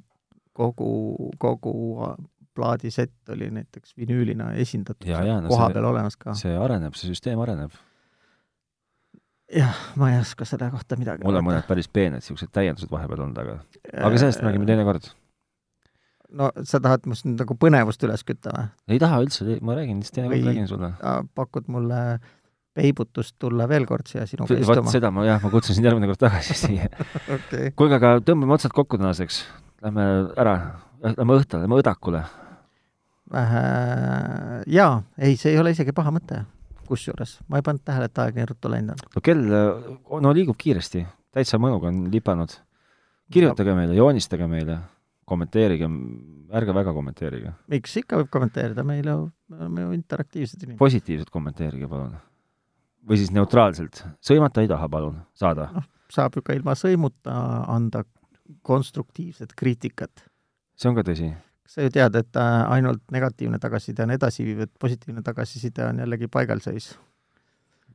Speaker 2: kogu , kogu plaadisett oli näiteks vinüülina esindatud
Speaker 1: Jaa,
Speaker 2: seal
Speaker 1: jaa, no
Speaker 2: koha
Speaker 1: see-
Speaker 2: peal olemas ka .
Speaker 1: see areneb , see süsteem areneb .
Speaker 2: jah , ma ei oska selle kohta midagi
Speaker 1: mul on mõned päris peened niisugused täiendused vahepeal olnud , aga ,
Speaker 2: Äh,
Speaker 1: aga sellest räägime . teinekord .
Speaker 2: no sa tahad must nüüd nagu põnevust üles kütta või ?
Speaker 1: ei taha üldse , ma räägin , siis teinekord
Speaker 2: Või-
Speaker 1: räägin sulle .
Speaker 2: pakud mulle peibutust tulla veel kord siia sinuga
Speaker 1: vot
Speaker 2: istuma ?
Speaker 1: seda ma jah , ma kutsun sind järgmine kord tagasi siia .
Speaker 2: okei ,
Speaker 1: kuulge , aga tõmbame otsad kokku tänaseks . Lähme ära , lähme õhtule , lähme õdakule .
Speaker 2: vähe , jaa , ei , see ei ole isegi paha mõte , kusjuures ma ei pannud tähele , et aeg nii ruttu läinud on .
Speaker 1: no kell , no liigub kiiresti , täitsa mõnuga on lipanud . kirjutage meile , joonistage meile , kommenteerige , ärge väga kommenteerige ,
Speaker 2: miks , ikka võib kommenteerida , meil ju , me oleme ju interaktiivsed inimesed .
Speaker 1: positiivselt kommenteerige , palun . või siis neutraalselt , sõimata ei taha , palun , saada .
Speaker 2: saab ju ka ilma sõimuta anda konstruktiivset kriitikat .
Speaker 1: see on ka tõsi .
Speaker 2: sa ju tead , et äh, ainult negatiivne tagasiside on edasiviiv , et positiivne tagasiside on jällegi paigalseis .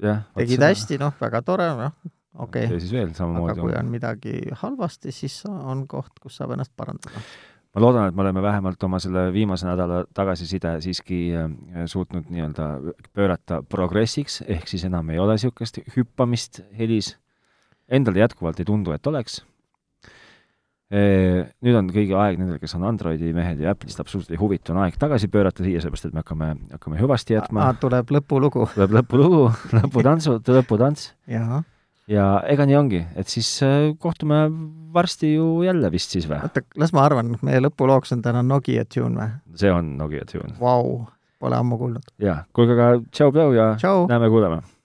Speaker 1: jah .
Speaker 2: tegid hästi , noh , väga tore , noh , okei okay. .
Speaker 1: ja siis veel
Speaker 2: aga
Speaker 1: samamoodi
Speaker 2: kui . on midagi halvasti , siis on koht , kus saab ennast parandada .
Speaker 1: ma loodan , et me oleme vähemalt oma selle viimase nädala tagasiside siiski äh, suutnud nii-öelda pöörata progressiks , ehk siis enam ei ole niisugust hüppamist helis . Endale jätkuvalt ei tundu , et oleks . Nüüd on kõige aeg nendel , kes on Androidi mehed ja Apple'ist absoluutselt ei huvitu , on aeg tagasi pöörata siia , sellepärast et me hakkame , hakkame hüvasti jätma .
Speaker 2: tuleb lõpulugu ,
Speaker 1: tuleb lõpulugu , lõputantsud , lõputants
Speaker 2: jaa .
Speaker 1: ja ega nii ongi , et siis äh, kohtume varsti ju jälle vist siis või ?
Speaker 2: oota , las ma arvan , meie lõpulooks on täna Nokia tune või ?
Speaker 1: see on Nokia tune .
Speaker 2: Vau , pole ammu kuulnud .
Speaker 1: jaa , kuulge aga tšau-tšau ja
Speaker 2: tšau .
Speaker 1: näeme-kuuleme .